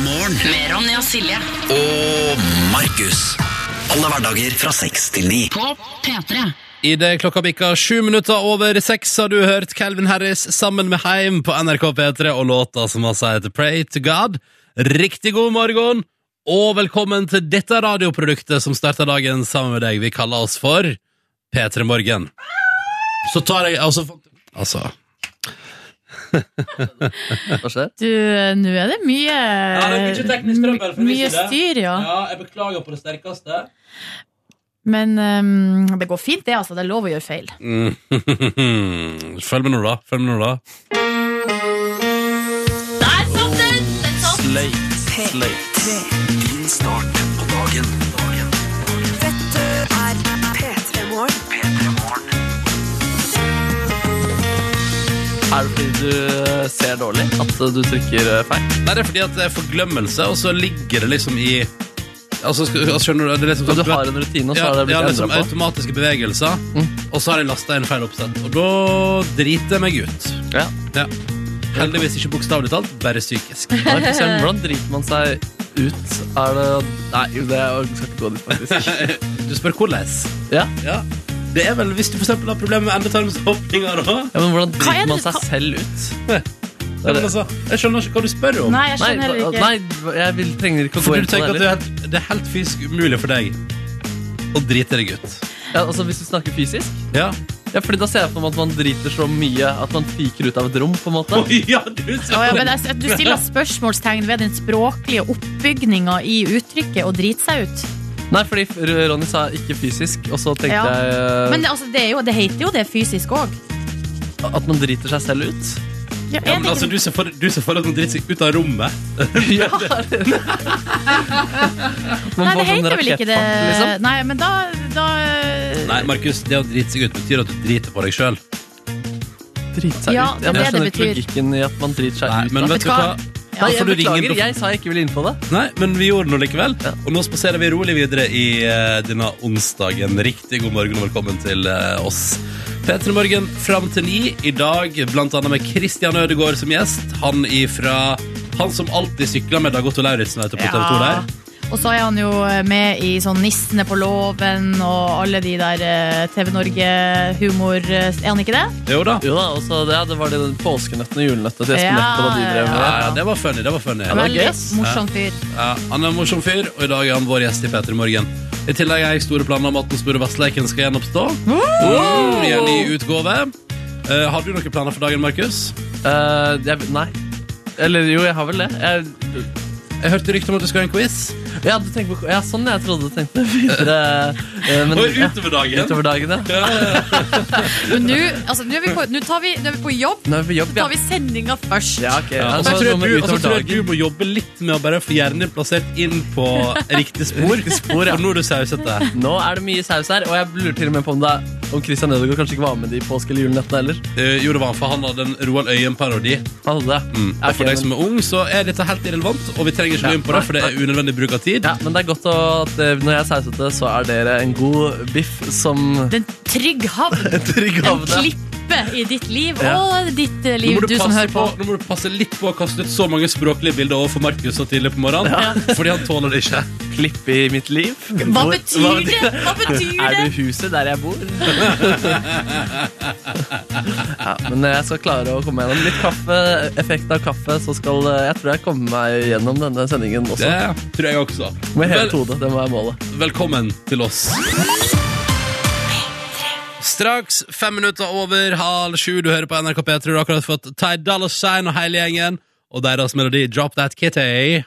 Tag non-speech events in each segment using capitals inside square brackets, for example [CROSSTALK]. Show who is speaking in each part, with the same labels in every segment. Speaker 1: Ronny og Silje
Speaker 2: Og Markus. Alle hverdager fra seks til ni.
Speaker 1: på P3.
Speaker 3: Idet klokka bikka sju minutter over seks, har du hørt Calvin Harris sammen med Heim på NRK P3 og låta som altså heter Pray to God. Riktig god morgen, og velkommen til dette radioproduktet som starter dagen sammen med deg. Vi kaller oss for P3 Morgen. Så tar jeg Altså, altså
Speaker 4: Hva skjer?
Speaker 5: Du, eh, nå er det mye
Speaker 3: det er mye teknisk trøbbel for min
Speaker 5: Eh, Mye
Speaker 3: side.
Speaker 5: styr, ja.
Speaker 3: jeg beklager på det sterkeste.
Speaker 5: Men ehm, det går fint, det, altså. Det er lov å gjøre feil.
Speaker 3: Mm. [LAUGHS] Følg med nå, da. Følg med nå, da.
Speaker 5: Der satt den! Den satt!
Speaker 2: Sløyt, sløyt. Din start på dagen. dagen.
Speaker 4: Er det fordi du eh, ser dårlig at du trykker eh, feil?
Speaker 3: Nei, det er fordi at det er forglemmelse, og så ligger det liksom i Altså, sk- altså skjønner du, det er liksom
Speaker 4: Men du har en rutine, og så
Speaker 3: ja,
Speaker 4: har det
Speaker 3: ja,
Speaker 4: blitt
Speaker 3: liksom
Speaker 4: endret på? Mm.
Speaker 3: automatiske bevegelser, og så har jeg lasta inn feil oppsett. Og da driter jeg meg ut.
Speaker 4: Ja.
Speaker 3: Ja. Heldigvis ikke bokstavelig talt, bare psykisk.
Speaker 4: Nei, for [LAUGHS] eksempel, Hvordan driter man seg ut? Er det Nei, det jeg skal ikke gå dit, faktisk.
Speaker 3: Du spør hvordan.
Speaker 4: Ja.
Speaker 3: Ja. Det er vel hvis du for eksempel har problemer med endetarmsåpninger da.
Speaker 4: [LAUGHS] Ja, men hvordan
Speaker 5: Hva er
Speaker 4: driter man
Speaker 5: det-
Speaker 4: seg
Speaker 5: hva-
Speaker 4: selv ut?
Speaker 3: Ja, men altså, Jeg skjønner ikke hva du spør om.
Speaker 5: Nei, jeg
Speaker 4: Nei,
Speaker 5: skjønner heller ikke.
Speaker 4: nei jeg vil, trenger ikke å gå
Speaker 3: For
Speaker 4: inn
Speaker 3: du
Speaker 4: på det
Speaker 3: tenker at det er,
Speaker 4: heller.
Speaker 3: helt- det er helt fysisk umulig for deg å drite deg ut.
Speaker 4: Ja, altså, hvis du snakker fysisk
Speaker 3: Ja.
Speaker 4: Ja, fordi Da ser jeg for meg at man driter så mye at man fyker ut av et rom. på en måte
Speaker 3: Oi, [LAUGHS] ja, du
Speaker 5: Å,
Speaker 3: ser
Speaker 5: ja, men jeg, du stiller spørsmålstegn ved den språklige oppbygninga i uttrykket 'å drite seg ut'.
Speaker 4: Nei, fordi R- Ronny sa ikke fysisk, og så tenkte
Speaker 5: Ja.
Speaker 4: jeg eh,
Speaker 5: Men det, altså, det, er jo, det heter jo det fysisk òg.
Speaker 4: at man driter seg selv ut.
Speaker 5: Ja,
Speaker 3: Ja,
Speaker 5: er
Speaker 3: men
Speaker 5: det
Speaker 3: altså,
Speaker 5: ikke
Speaker 3: du ser for du ser for deg at man driter seg ut av rommet.
Speaker 4: Ja, det- Man
Speaker 5: Nei, det
Speaker 4: får sånn
Speaker 5: heter vel ikke det.
Speaker 4: rakettfart, liksom.
Speaker 5: Nei, men da, da
Speaker 3: Nei, Markus, det å drite seg ut betyr at du driter på deg sjøl.
Speaker 4: Drite seg
Speaker 5: Ja,
Speaker 4: ut.
Speaker 5: det er
Speaker 4: men jeg
Speaker 5: det
Speaker 4: skjønner
Speaker 5: det
Speaker 4: ikke logikken i at man driter seg ut. Altså,
Speaker 3: Men
Speaker 4: da.
Speaker 3: vet du hva?
Speaker 4: Nei,
Speaker 3: Da får
Speaker 4: jeg
Speaker 3: du ringe inn
Speaker 4: beklager,
Speaker 3: på-
Speaker 4: jeg sa jeg ikke ville inn på det.
Speaker 3: Nei, men vi gjorde det nå likevel.
Speaker 4: Ja.
Speaker 3: Og nå spaserer vi rolig videre i eh, denne onsdagen. Riktig god morgen og velkommen til eh, oss. P3 Morgen fram til ni i dag, blant annet med Christian Ødegaard som gjest. Han ifra Han som alltid sykler med Dag Otto Lauritzen vet du, på TV 2 der.
Speaker 5: Og så er han jo med i sånn Nissene på låven og alle de der eh, TV Norge-humor... eh, Er han ikke det?
Speaker 3: Jo da.
Speaker 4: Jo da, og så det, det var de påskenøttene og julenøttene til Espen
Speaker 5: Ja,
Speaker 4: Eckbo da de drev med
Speaker 3: Ja,
Speaker 4: det.
Speaker 3: ja, det var funny. Det var funny.
Speaker 4: det var
Speaker 5: Veldig
Speaker 4: gøy, ass.
Speaker 5: morsom fyr.
Speaker 3: Ja, han er en morsom fyr, og i dag er han vår gjest i P3 Morgen. I tillegg har jeg store planer om at den store Vassleiken skal gjenoppstå. Mm, I en ny utgave. Eh, har du noen planer for dagen, Markus?
Speaker 4: Eh, jeg, nei. Eller jo, jeg har vel det. Jeg,
Speaker 3: Jeg hørte rykter om at du skal ha en quiz.
Speaker 4: ja, du tenker på, ja, sånn jeg trodde du tenkte videre. eh, men,
Speaker 3: Og
Speaker 4: ja,
Speaker 3: utover dagen.
Speaker 4: utover dagen, ja.
Speaker 5: Men nå altså, nå er, vi på- nå tar vi- nå er vi på jobb.
Speaker 4: Nå er vi på jobb,
Speaker 5: Så
Speaker 4: ja.
Speaker 5: tar vi sendinga først.
Speaker 4: ja ok.
Speaker 3: Ja, og så
Speaker 4: Altså,
Speaker 3: tror jeg
Speaker 4: noe med
Speaker 3: du, og så
Speaker 4: utover
Speaker 3: tror jeg
Speaker 4: dagen.
Speaker 3: du må jobbe litt med å bare få hjernen plassert inn på
Speaker 4: [LAUGHS]
Speaker 3: riktig spor.
Speaker 4: spor, ja.
Speaker 3: For nå er du sausete.
Speaker 4: Nå er det mye saus her, og jeg lurer til og med på om, det, er- om Christian Ødegaard kanskje ikke var med de påske- eller julenøttene heller.
Speaker 3: Eh, jo, det var han, for han hadde en Roald Øyen-parodi.
Speaker 4: Han hadde det.
Speaker 3: Mm.
Speaker 4: Ja,
Speaker 3: Og for
Speaker 4: ok,
Speaker 3: deg som er ung, så er dette helt irrelevant, og vi trenger ikke gå inn på det, for det er unødvendig bruk av tid.
Speaker 4: Ja, men det er godt å, at eh, når jeg er sausete, så er dere en god biff som
Speaker 5: Den trygg
Speaker 3: [LAUGHS]
Speaker 5: havn.
Speaker 4: trygg
Speaker 5: En klippe i ditt liv og ditt eh,
Speaker 3: Nå
Speaker 5: liv,
Speaker 3: må, du
Speaker 5: du som
Speaker 3: passe
Speaker 5: hører på.
Speaker 3: Nå må du passe litt på å kaste ut så mange språklige bilder overfor Markus så tidlig på morgenen. Fordi han tåler det ikke.
Speaker 4: klipp i mitt liv.
Speaker 5: Hva
Speaker 4: Hvor-
Speaker 5: betyr det? Hva betyr
Speaker 4: Er
Speaker 5: det?
Speaker 4: du huset der jeg [LAUGHS] bor? ja, men jeg skal klare å komme gjennom litt kaffe, effekt av kaffe, så skal eh, jeg tror jeg kommer meg gjennom denne sendingen
Speaker 3: Det
Speaker 4: også.
Speaker 3: tror jeg også. Vel,
Speaker 4: Med hevet hode, det må være målet.
Speaker 3: velkommen til oss. Straks fem minutter over halv sju. Du hører på NRK P3. Du har akkurat fått Ty Dolla Sign og hele gjengen og deres melodi Drop That Kitty.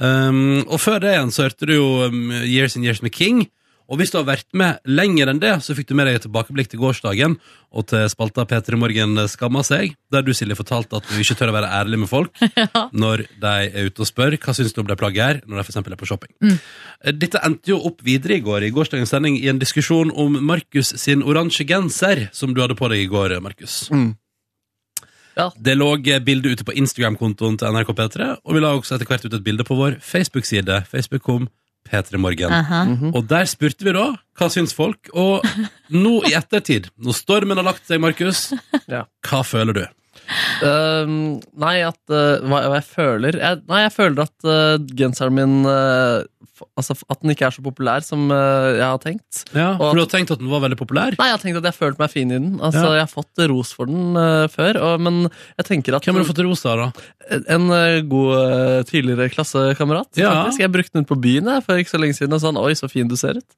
Speaker 3: Um, og før det igjen så hørte du jo um, Years and Years med King. Og hvis du har vært med lenger enn det, så fikk du med deg et tilbakeblikk til gårsdagen og til spalta P3 Morgen skamma seg, der du, Silje, fortalte at du ikke tør å være ærlig med folk når de er ute og spør hva syns du om det plagget her, når de for eksempel er på shopping. Eh, Dette endte jo opp videre i går, i gårsdagens sending, i en diskusjon om Markus sin oransje genser, som du hadde på deg i går, Markus.
Speaker 4: Ja.
Speaker 3: Det lå eh, bilde ute på Instagram-kontoen til NRK P3, og vi la også etter hvert ut et bilde på vår Facebook-side. Facebook kom P3 Morgen.
Speaker 5: Aha.
Speaker 3: Og der spurte vi da, hva syns folk? Og nå i ettertid, når stormen har lagt seg, Markus,
Speaker 4: Ja.
Speaker 3: hva føler du?
Speaker 4: Ehm, nei, at eh, hva, hva jeg føler jeg, Nei, jeg føler at eh, genseren min eh, f- Altså at den ikke er så populær som eh, jeg har tenkt.
Speaker 3: Ja,
Speaker 4: Og-
Speaker 3: for du har tenkt at den var veldig populær?
Speaker 4: Nei, jeg har tenkt at jeg har følt meg fin i den. Altså,
Speaker 3: Ja.
Speaker 4: Jeg har fått ros for den eh, før, og, men jeg tenker at
Speaker 3: Hvem har du fått ros av, da?
Speaker 4: en eh, god eh, tidligere klassekamerat
Speaker 3: Ja.
Speaker 4: faktisk, Jeg brukte den på byen jeg, for ikke så lenge siden og sa han, oi, så fin du ser ut.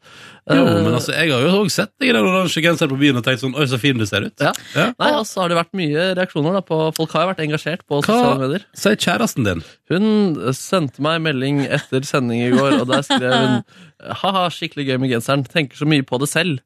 Speaker 3: Jo,
Speaker 4: Eh,
Speaker 3: men altså, Jeg har jo også sett deg i den oransje genseren på byen og tenkt sånn Oi, så fin du ser ut.
Speaker 4: Ja.
Speaker 3: Ja.
Speaker 4: Nei, og så har det vært mye reaksjoner. Da, på, folk har jo vært engasjert på sosiale medier.
Speaker 3: Sier kjæresten din.
Speaker 4: Hun sendte meg melding etter sending i går, og der skrev hun Haha, skikkelig gøy med genseren. Tenker så mye på det selv.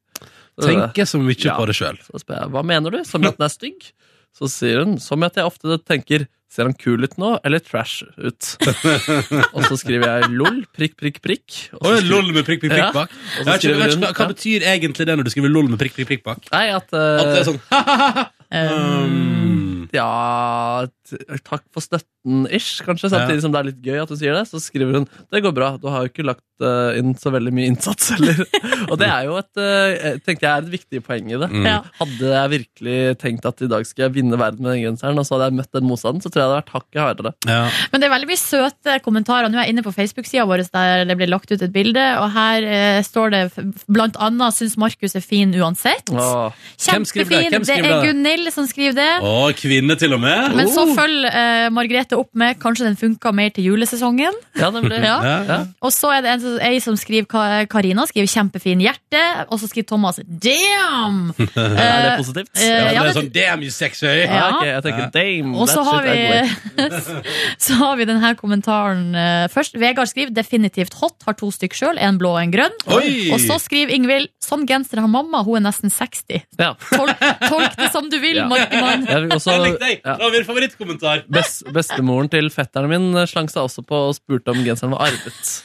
Speaker 3: Tenker så mye
Speaker 4: Ja.
Speaker 3: på det sjøl.
Speaker 4: Så spør jeg hva mener du? Som i at den er stygg? Så sier hun som i at jeg ofte tenker Ser han kul ut nå, eller trash ut?
Speaker 3: [LAUGHS]
Speaker 4: og så skriver jeg lol, prikk, prikk, prikk. Og så
Speaker 3: Oi,
Speaker 4: skriver-
Speaker 3: lol med prikk, prikk, prikk
Speaker 4: Ja.
Speaker 3: bak.
Speaker 4: Og
Speaker 3: Jeg
Speaker 4: så
Speaker 3: vet ikke, jeg vet
Speaker 4: skriver
Speaker 3: ikke,
Speaker 4: hun
Speaker 3: hva, hva
Speaker 4: ja.
Speaker 3: betyr egentlig det når du skriver lol med prikk, prikk, prikk bak?
Speaker 4: Nei, at,
Speaker 3: At det
Speaker 4: eh,
Speaker 3: er sånn
Speaker 5: Um,
Speaker 3: hmm.
Speaker 4: Ja, t- takk for støtten, ish, kanskje. Samtidig som det er litt gøy at hun sier det, så skriver hun det går bra. Du har jo ikke lagt eh, inn så veldig mye innsats
Speaker 5: [LAUGHS]
Speaker 4: heller. og det er jo et, eh, tenkte jeg er et viktig poeng i det.
Speaker 3: Mm.
Speaker 5: Ja.
Speaker 4: Hadde jeg virkelig tenkt at i dag skal jeg vinne verden med den genseren, og så hadde jeg møtt den motstanden, så tror jeg det hadde vært hakket hardere.
Speaker 3: Ja.
Speaker 5: Men det er veldig mye søte kommentarer. Nå er jeg inne på Facebook-sida vår der det blir lagt ut et bilde, og her eh, står det f- blant annet 'Syns Markus er fin uansett'.
Speaker 4: Åh.
Speaker 3: Hvem skriver det?
Speaker 5: Kjempefin.
Speaker 3: Hvem
Speaker 5: Det
Speaker 3: skriver
Speaker 5: er
Speaker 3: det?
Speaker 5: Gunhild som skriver det.
Speaker 3: Å, kvinne til og med?
Speaker 5: Men så
Speaker 3: Oh.
Speaker 5: følger eh, Margrethe opp med 'Kanskje den funka mer til julesesongen'.
Speaker 4: Ja, nemlig.
Speaker 5: Ja.
Speaker 3: ja.
Speaker 4: Ja.
Speaker 5: Og så er det en, som- ei som skriver Ka- Karina skriver 'kjempefin hjerte', og så skriver Thomas
Speaker 4: [LAUGHS]
Speaker 5: 'damn'.
Speaker 4: Er det
Speaker 5: Eh,
Speaker 4: positivt?
Speaker 5: eh,
Speaker 3: Ja,
Speaker 5: ja,
Speaker 3: det er
Speaker 5: det-
Speaker 3: sånn Damn, you sexy!
Speaker 5: Ja.
Speaker 4: ok, jeg tenker damn,
Speaker 5: Og så
Speaker 4: that
Speaker 5: har
Speaker 4: shit er great.
Speaker 5: vi [LAUGHS] Så har vi denne kommentaren eh, først. Vegard skriver 'definitivt hot', har to stykk sjøl, en blå og en grønn.
Speaker 3: Oi!
Speaker 5: Og så skriver Ingvild 'sånn genser har mamma, hun er nesten 60'.
Speaker 4: Ja. [LAUGHS]
Speaker 5: Tolk, tolk det som du vil,
Speaker 4: Ja.
Speaker 5: Markemann.
Speaker 4: Jeg vil også,
Speaker 3: Jeg likte deg!
Speaker 4: ja.
Speaker 3: Det var min favorittkommentar.
Speaker 4: Best, bestemoren til fetteren min eh, slang seg også på og spurte om genseren var arvet.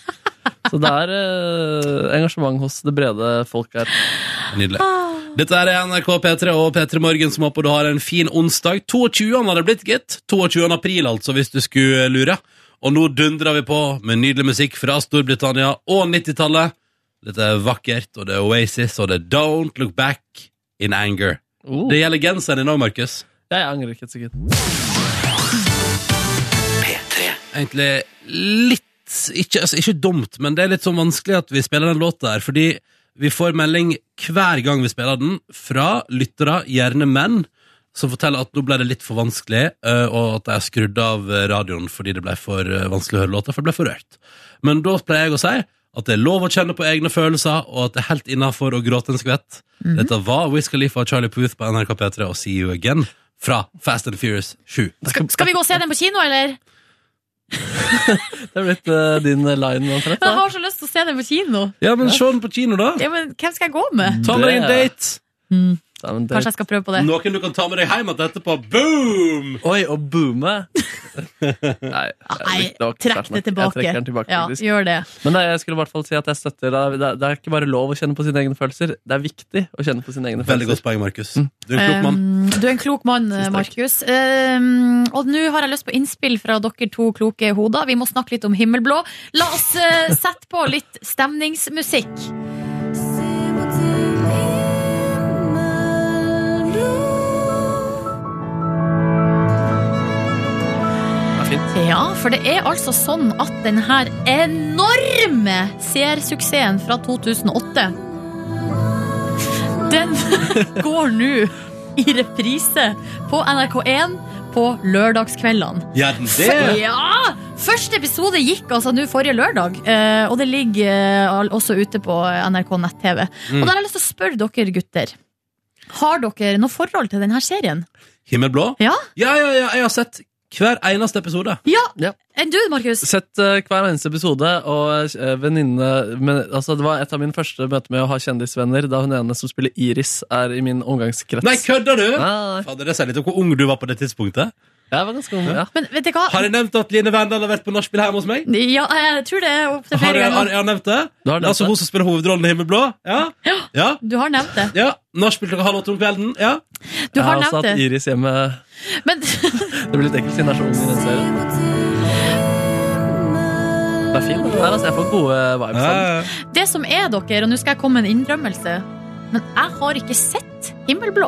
Speaker 4: Så det er eh, engasjement hos det brede folk her.
Speaker 3: Nydelig. Dette er NRK P3 og P3 Morgen som håper du har en fin onsdag. 22. har det blitt, gitt. 22. april, altså, hvis du skulle lure. Og nå dundrer vi på med nydelig musikk fra Storbritannia og 90-tallet. Dette er vakkert, og det er Oasis, og det er Don't Look Back in Anger.
Speaker 4: Oh,
Speaker 3: Det gjelder genseren din òg, Markus.
Speaker 4: jeg angrer ikke et sekund.
Speaker 2: P3
Speaker 3: Egentlig litt ikke, altså, ikke dumt, men det er litt sånn vanskelig at vi spiller den låta her, fordi vi får melding hver gang vi spiller den, fra lyttere, gjerne menn, som forteller at nå ble det litt for vanskelig, eh, og at jeg skrudde av eh, radioen fordi det ble for eh, vanskelig å høre låta, for det ble for rørt. Men da pleier jeg å si at det er lov å kjenne på egne følelser, og at det er helt innafor å gråte en skvett. Dette var Wiz Khalifa og Charlie Puth på NRK P3 og See You Again fra Fast and Furious 7.
Speaker 5: Skal, skal vi gå og se den på kino, eller?
Speaker 4: Det er blitt eh, din line omtrent.
Speaker 5: Men jeg
Speaker 4: da.
Speaker 5: har så lyst til å se den på kino.
Speaker 3: Ja, men se den på kino, da.
Speaker 5: Ja, men hvem skal jeg gå med?
Speaker 3: Ta med deg en
Speaker 4: Det-
Speaker 3: date.
Speaker 5: Mm,
Speaker 4: Ja, men det-
Speaker 5: kanskje jeg skal prøve på det.
Speaker 3: Noen du kan ta med deg hjem igjen etterpå. Boom!
Speaker 4: Oi, og
Speaker 5: [LAUGHS]
Speaker 4: boome! Nei,
Speaker 5: Nei,
Speaker 4: det var ikke
Speaker 5: trekk
Speaker 4: sterkt
Speaker 5: det
Speaker 4: nok.
Speaker 5: tilbake.
Speaker 4: Jeg trekker den tilbake
Speaker 5: Ja,
Speaker 4: faktisk.
Speaker 5: gjør det.
Speaker 4: Men nei, jeg skulle i hvert fall si at jeg støtter deg. Det er- Det er ikke bare lov å kjenne på sine egne følelser, det er viktig å kjenne på sine egne
Speaker 3: Veldig
Speaker 4: følelser.
Speaker 3: godt poeng, Markus. Du er en klok mann.
Speaker 5: Um, du er en klok mann,
Speaker 4: Tusen takk.
Speaker 5: Markus. Um, og nå har jeg lyst på innspill fra dere to kloke hoder. Vi må snakke litt om himmelblå. La oss eh, sette på litt stemningsmusikk.
Speaker 4: Det er fint.
Speaker 5: Ja, for det er altså sånn at den her enorme seersuksessen fra 2008 Den [LAUGHS] går nå i reprise på NRK1 på lørdagskveldene.
Speaker 3: Gjør den det?
Speaker 5: Ja! Første episode gikk altså nå forrige lørdag, eh, og det ligger eh, al- også ute på NRK nett-TV.
Speaker 3: Mm.
Speaker 5: Og der har jeg lyst til å spørre dere gutter. Har dere noe forhold til denne serien?
Speaker 3: Himmelblå?
Speaker 5: Ja?
Speaker 3: Ja, ja, ja, jeg har sett hver eneste episode.
Speaker 5: Enn du, Markus?
Speaker 4: Sett eh, hver eneste episode, og uh, venninne men, altså, Det var et av mine første møter med å ha kjendisvenner, da hun ene som spiller Iris, er i min omgangskrets.
Speaker 3: Nei, kødder du?
Speaker 4: Nei, nei, nei.
Speaker 3: Fader, det sier litt om hvor ung du var på det tidspunktet.
Speaker 4: Jeg var ganske ung, ja.
Speaker 5: Men vet dere hva?
Speaker 3: Har jeg nevnt at Line Verndal har vært på nachspiel hjemme hos meg?
Speaker 5: Ja, jeg tror det er opp til
Speaker 3: Har
Speaker 5: flere
Speaker 3: jeg, har
Speaker 5: ganger.
Speaker 3: jeg nevnt det?
Speaker 4: Du har nevnt
Speaker 3: altså
Speaker 4: det.
Speaker 3: hun som spiller hovedrollen i Himmelblå? Ja? Ja?
Speaker 5: Du har nevnt det.
Speaker 3: ja. Nachspiel klokka halv åtte om kvelden? Ja?
Speaker 5: Du
Speaker 4: Jeg
Speaker 5: har
Speaker 4: har også
Speaker 5: nevnt
Speaker 4: hatt
Speaker 5: det.
Speaker 4: Iris hjemme.
Speaker 5: Men, [LAUGHS]
Speaker 4: Det blir litt ekkelt siden jeg er så ung i den serien. Det er fint, det der. Altså, jeg får gode vibes av den.
Speaker 5: det som er dere, og nå skal jeg komme med en innrømmelse Men jeg har ikke sett Himmelblå.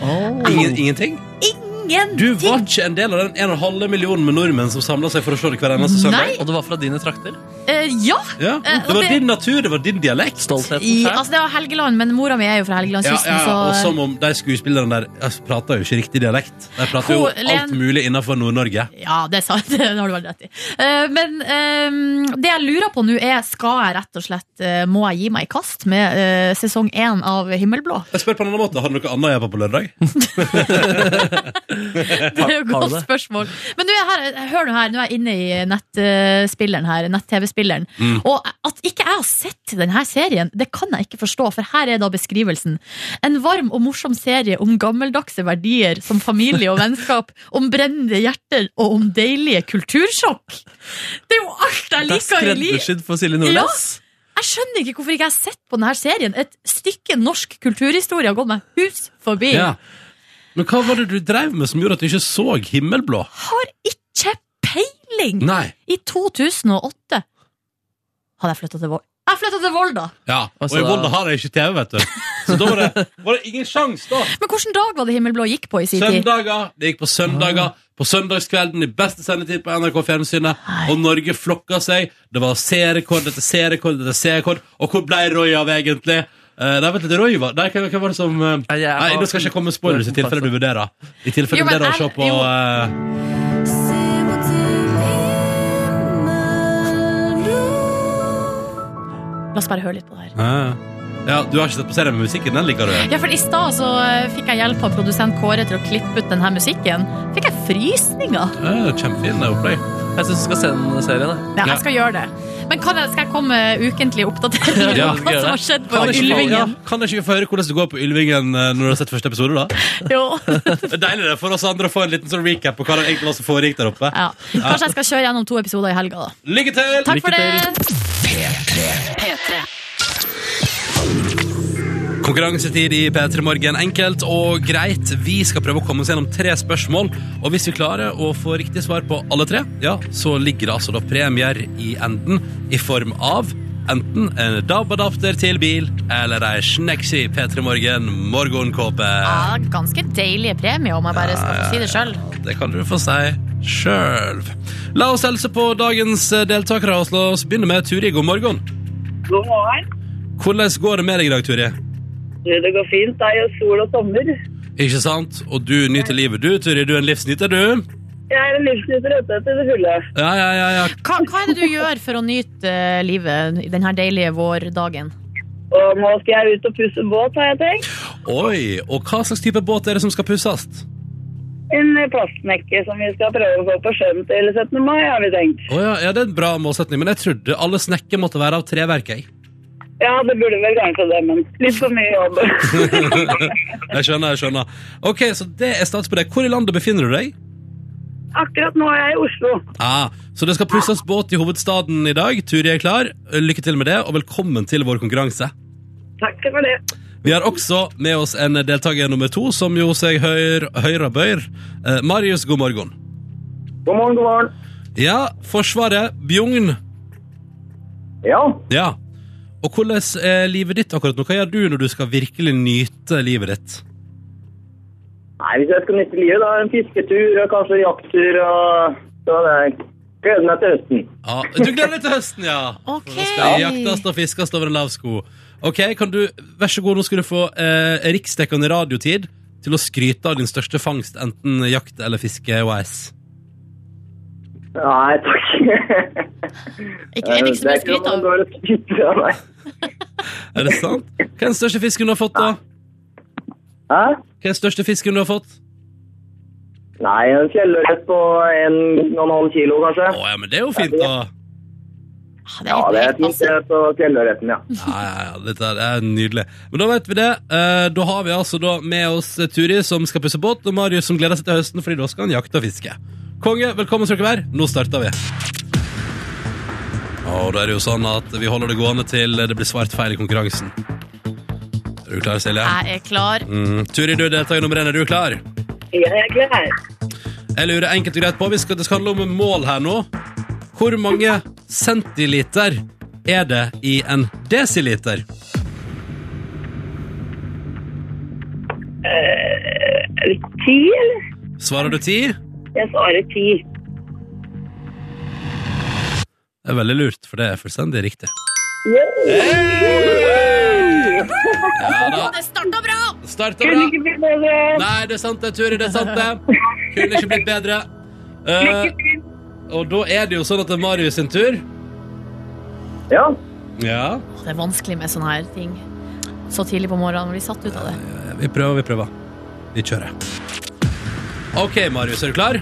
Speaker 4: Oh.
Speaker 3: Ingen, Ah. ingenting? Du
Speaker 5: Ingenting!
Speaker 3: var ikke en del av den 1,5 millionen med nordmenn som samla seg for å se det hver eneste søndag?
Speaker 4: Og det var fra dine trakter.
Speaker 5: Eh, ja!
Speaker 3: Ja.
Speaker 5: Eh, og
Speaker 3: Det var
Speaker 5: det-
Speaker 3: din natur, det var din dialekt.
Speaker 5: I,
Speaker 4: Stoltheten her.
Speaker 5: altså, det var Helgeland, men mora mi er jo fra
Speaker 3: Ja,
Speaker 5: Helgelandskysten,
Speaker 3: ja, og
Speaker 5: så
Speaker 3: som om de skuespillerne der altså, prater jo ikke riktig dialekt. De prater jo
Speaker 5: Hun, Len-
Speaker 3: alt mulig innenfor Nord-Norge.
Speaker 5: Ja, det er sant. [LAUGHS] Det har du veldig rett i. Eh, men eh, det jeg lurer på nå, er skal jeg rett og slett eh, Må jeg gi meg i kast med eh, sesong én av Himmelblå?
Speaker 3: Jeg spør på en annen måte, Har du noe annet å gjøre på på lørdag?
Speaker 5: Det er jo et
Speaker 4: Har- har du
Speaker 5: godt
Speaker 4: det?
Speaker 5: spørsmål. Men nå er jeg her, hør nå her, nå er jeg inne i nettspilleren her, nett-TV-spilleren.
Speaker 3: Mm.
Speaker 5: Og at ikke jeg har sett denne serien, det kan jeg ikke forstå, for her er da beskrivelsen. En varm og morsom serie om gammeldagse verdier som familie og vennskap, om brennende hjerter og om deilige kultursjokk. Det er jo alt jeg
Speaker 4: Det er
Speaker 5: liker i livet.
Speaker 4: [LAUGHS] skreddersydd for Silje Nordnes.
Speaker 5: Jeg skjønner ikke hvorfor ikke jeg har sett på denne serien. Et stykke norsk kulturhistorie har gått meg hus forbi.
Speaker 3: Men hva var det du drev med som gjorde at du ikke så himmelblå?
Speaker 5: Har ikke peiling!
Speaker 3: Nei.
Speaker 5: I 2008 hadde jeg flytta til Volda. Jeg flytta til Volda!
Speaker 3: Ja, Og
Speaker 4: Altså,
Speaker 3: i
Speaker 4: da-
Speaker 3: Volda har jeg ikke TV, vet du. Så da var det, var det ingen sjanse, da.
Speaker 5: Men hvilken dag var det Himmelblå gikk på i sin tid?
Speaker 3: Søndager. Det gikk på søndager.
Speaker 5: Ah.
Speaker 3: På søndagskvelden i beste sendetid på NRK Fjernsynet.
Speaker 5: Nei.
Speaker 3: Og Norge flokka seg. Det var seerrekord etter seerrekord etter seerrekord. Og hvor ble Roy av, egentlig? Uh, nei, vent litt, Roy var Nei, hva, hva var det som eh,
Speaker 4: Nei, jeg
Speaker 3: Nei,
Speaker 4: har-
Speaker 3: nå skal jeg ikke komme med spoilers i tilfelle du vurderer. I tilfelle
Speaker 5: Jo,
Speaker 3: du
Speaker 5: men
Speaker 3: vurderer å se
Speaker 5: jeg-
Speaker 3: på
Speaker 5: jo.
Speaker 3: eh,
Speaker 5: La oss bare høre litt på det her.
Speaker 3: eh, Ja, du har ikke sett på serien med musikken? Den liker du?
Speaker 5: Ja, for I stad så eh, fikk jeg hjelp av produsent Kåre til å klippe ut denne musikken. Fikk jeg frysninger!
Speaker 3: Uh, Kjempefin det er opplegg.
Speaker 4: Jeg syns du skal se den serien. jeg.
Speaker 5: Ja,
Speaker 3: Ja.
Speaker 5: jeg skal gjøre det. Men kan jeg, skal jeg komme med ukentlig
Speaker 3: [LAUGHS]
Speaker 5: oppdatering
Speaker 4: Ja,
Speaker 5: om
Speaker 4: skal
Speaker 5: hva
Speaker 4: gjøre
Speaker 5: som har
Speaker 4: det.
Speaker 5: skjedd på
Speaker 3: Kan ikke, få- ja,
Speaker 5: Ylvingen?
Speaker 3: kan ikke vi få høre hvordan det går på Ylvingen eh, når du har sett første episode?
Speaker 5: [LAUGHS]
Speaker 3: da?
Speaker 5: Jo.
Speaker 3: Det er deilig det for oss andre å få en liten sånn recap på hva det egentlig var som foregikk der oppe.
Speaker 5: Ja. Kanskje jeg skal kjøre gjennom to episoder i helga, da.
Speaker 3: Lykke til!
Speaker 5: Takk for
Speaker 4: Lykke
Speaker 5: det!
Speaker 3: Konkurransetid i P3 Morgen. Enkelt og greit. Vi skal prøve å komme oss gjennom tre spørsmål. Og hvis vi klarer å få riktig svar på alle tre, ja, så ligger det altså da premier i enden i form av enten en DAB-adapter til bil eller ei sneksi P3 Morgen morgenkåpe.
Speaker 5: Ja, ganske deilige premier, om jeg bare skal få si det sjøl.
Speaker 3: Det kan du få si sjøl. La oss helse på dagens deltakere. og La oss begynne med Turi. God morgen.
Speaker 1: God morgen.
Speaker 3: Hvordan går det med deg i dag, Turi?
Speaker 1: Du, Det går fint. Det er jo sol og sommer.
Speaker 3: Ikke sant? Og du nyter livet, du, Turi. Du er en livsnyter, du.
Speaker 1: Jeg er en livsnyter ute etter det fulle.
Speaker 3: Ja, ja, ja, ja.
Speaker 5: Hva, hva er det du gjør for å nyte eh, livet i denne deilige vårdagen?
Speaker 1: Og nå skal jeg ut og pusse båt, har jeg tenkt.
Speaker 3: Oi, og hva slags type båt er det som skal pusses?
Speaker 1: En plastnekke som vi skal prøve å gå på sjøen til 17. mai, har vi tenkt.
Speaker 3: Å ja, ja, det er en bra målsetning, men jeg trodde alle snekker måtte være av treverk, jeg. [LAUGHS]
Speaker 1: Ja, det burde vel kanskje det, men litt for mye jobb. [LAUGHS]
Speaker 3: Jeg skjønner, jeg skjønner. Ok, så det er stats på deg. Hvor i landet befinner du deg?
Speaker 1: Akkurat nå er jeg i Oslo.
Speaker 3: Ah, så det skal pusses båt i hovedstaden i dag. Turi er klar. Lykke til med det, og velkommen til vår konkurranse.
Speaker 1: Takk for det.
Speaker 3: Vi har også med oss en deltaker nummer to, som jo seg høyr, høyre bøyer. Eh, Marius, god morgen.
Speaker 1: God morgen, god morgen.
Speaker 3: Ja, Forsvaret, Bjugn.
Speaker 1: Ja.
Speaker 3: Ja. Og hvordan er livet ditt akkurat nå? Hva gjør du når du skal virkelig nyte livet ditt?
Speaker 1: Nei, hvis jeg skal nytte livet, da en fisketur og kanskje jakttur og så det gleder meg til høsten.
Speaker 3: Ja, du gleder deg til høsten, ja!
Speaker 5: Ok.
Speaker 3: Nå skal altså. det jaktes og fiskes over en lav sko. Ok, kan du, Vær så god, nå skal du få eh, riksdekkende radiotid til å skryte av din største fangst, enten jakt eller fiske. OS.
Speaker 1: Nei, takk.
Speaker 5: Ikke, liksom, er det ikke så mye å skryte av?
Speaker 1: Det er ikke noe man går og skryter av, nei.
Speaker 3: Er det sant? Hva er den største fisken du har fått, da?
Speaker 1: Hæ?
Speaker 3: Hva er den største fisken du har fått?
Speaker 1: Nei, en fjellørret på en, noen halv kilo,
Speaker 3: Å
Speaker 1: kanskje.
Speaker 3: ja, men det er jo fint, da.
Speaker 5: Ah,
Speaker 1: Ja, det er
Speaker 5: helt-
Speaker 1: fint
Speaker 5: altså,
Speaker 1: det på fjellørreten, ja.
Speaker 3: Ja, ja, ja, dette er nydelig. Men da vet vi det. Eh, da har vi altså da med oss Turi, som skal pusse båt, og Marius, som gleder seg til høsten, fordi da skal han jakte og fiske. Konge, velkommen skal dere være. Nå starter vi. Ja, Og da er det jo sånn at vi holder det gående til det blir svart feil i konkurransen. Er du klar, Silje?
Speaker 5: Jeg er klar.
Speaker 3: Mm. Turi, du er deltaker nummer én. Er du klar?
Speaker 1: Jeg er klar.
Speaker 3: Jeg lurer enkelt og greit på. Vi skal, det skal handle om mål her nå. Hvor mange centiliter er det i en desiliter?
Speaker 1: Ti, eller?
Speaker 3: Svarer du ti?
Speaker 6: Jeg svarer ti.
Speaker 3: Det er veldig lurt, for det er fullstendig riktig. Ja da.
Speaker 5: Det starta bra!
Speaker 3: Starter
Speaker 6: Kunne
Speaker 3: bra.
Speaker 6: ikke bli bedre.
Speaker 3: Nei, det er sant det, Turi. Det er sant det. Kunne ikke blitt bedre. Eh,
Speaker 6: Lykke til.
Speaker 3: og da er det jo sånn at det er Marius sin tur.
Speaker 1: Ja.
Speaker 3: Ja.
Speaker 5: Det er vanskelig med sånne her ting så tidlig på morgenen. Vi satt ut av det.
Speaker 3: Vi prøver, vi prøver. Vi kjører. OK, Marius, er du klar?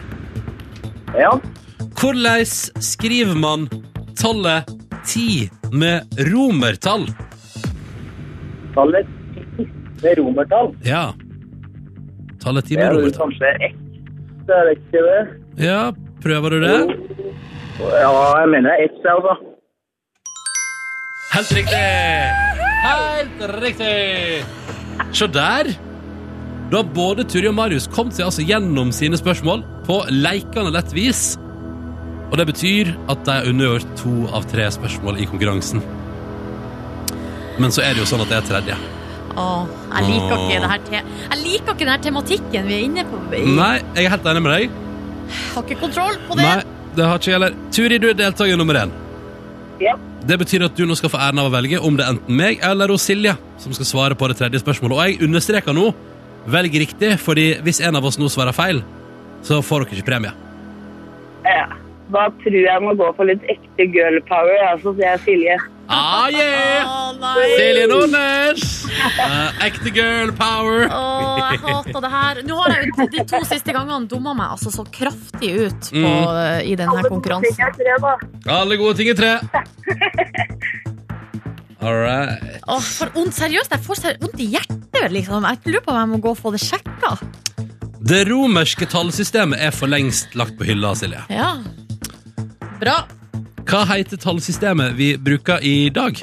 Speaker 1: Ja.
Speaker 3: Hvordan skriver man tallet ti med romertall?
Speaker 1: Tallet ti med romertall.
Speaker 3: Ja. Tallet ti
Speaker 1: Det
Speaker 3: med
Speaker 1: er jo
Speaker 3: romertall.
Speaker 1: kanskje ett. Det er det ikke det?
Speaker 3: Ja, prøver du det?
Speaker 1: Ja, jeg mener det er ett, altså.
Speaker 3: Helt riktig! Helt riktig! Se der! Da har både Turi og Marius kom seg altså gjennom sine spørsmål på leikende lett vis. Og det betyr at de har undergjort to av tre spørsmål i konkurransen. Men så er det jo sånn at det er tredje.
Speaker 5: Åh, jeg liker ikke det her te Jeg liker ikke den her tematikken vi er inne på. Jeg
Speaker 3: Nei, jeg er helt enig med deg.
Speaker 5: har ikke kontroll på det.
Speaker 3: Nei, det har ikke gjelder. Turi, du er deltaker nummer én.
Speaker 6: Ja.
Speaker 3: Det betyr at du nå skal få æren av å velge om det er enten meg eller hos Silje som skal svare på det tredje spørsmålet. Og jeg understreker nå velg riktig, fordi hvis en av oss nå svarer feil, så får dere ikke premie.
Speaker 6: Ja. Da tror jeg jeg må gå for litt ekte girl power, jeg,
Speaker 1: altså,
Speaker 6: så sier jeg Silje.
Speaker 3: Ah, yeah!
Speaker 5: Åh, nei.
Speaker 3: Silje Nordnes! Eh, ekte girl power.
Speaker 5: Åh, jeg hater det her. Nå har jeg jo de to siste gangene dumma meg altså så kraftig ut på,
Speaker 3: Mm.
Speaker 5: eh, i denne konkurransen.
Speaker 6: Jeg tror jeg da.
Speaker 3: Alle gode ting i
Speaker 5: [LAUGHS]
Speaker 3: tre. All right.
Speaker 5: Åh, for ondt, seriøst, jeg får seri- vondt i hjertet, liksom. Jeg lurer på om jeg må gå og få det sjekka.
Speaker 3: Det romerske tallsystemet er for lengst lagt på hylla, Silje.
Speaker 5: Ja. Bra.
Speaker 3: Hva heter tallsystemet vi bruker i dag?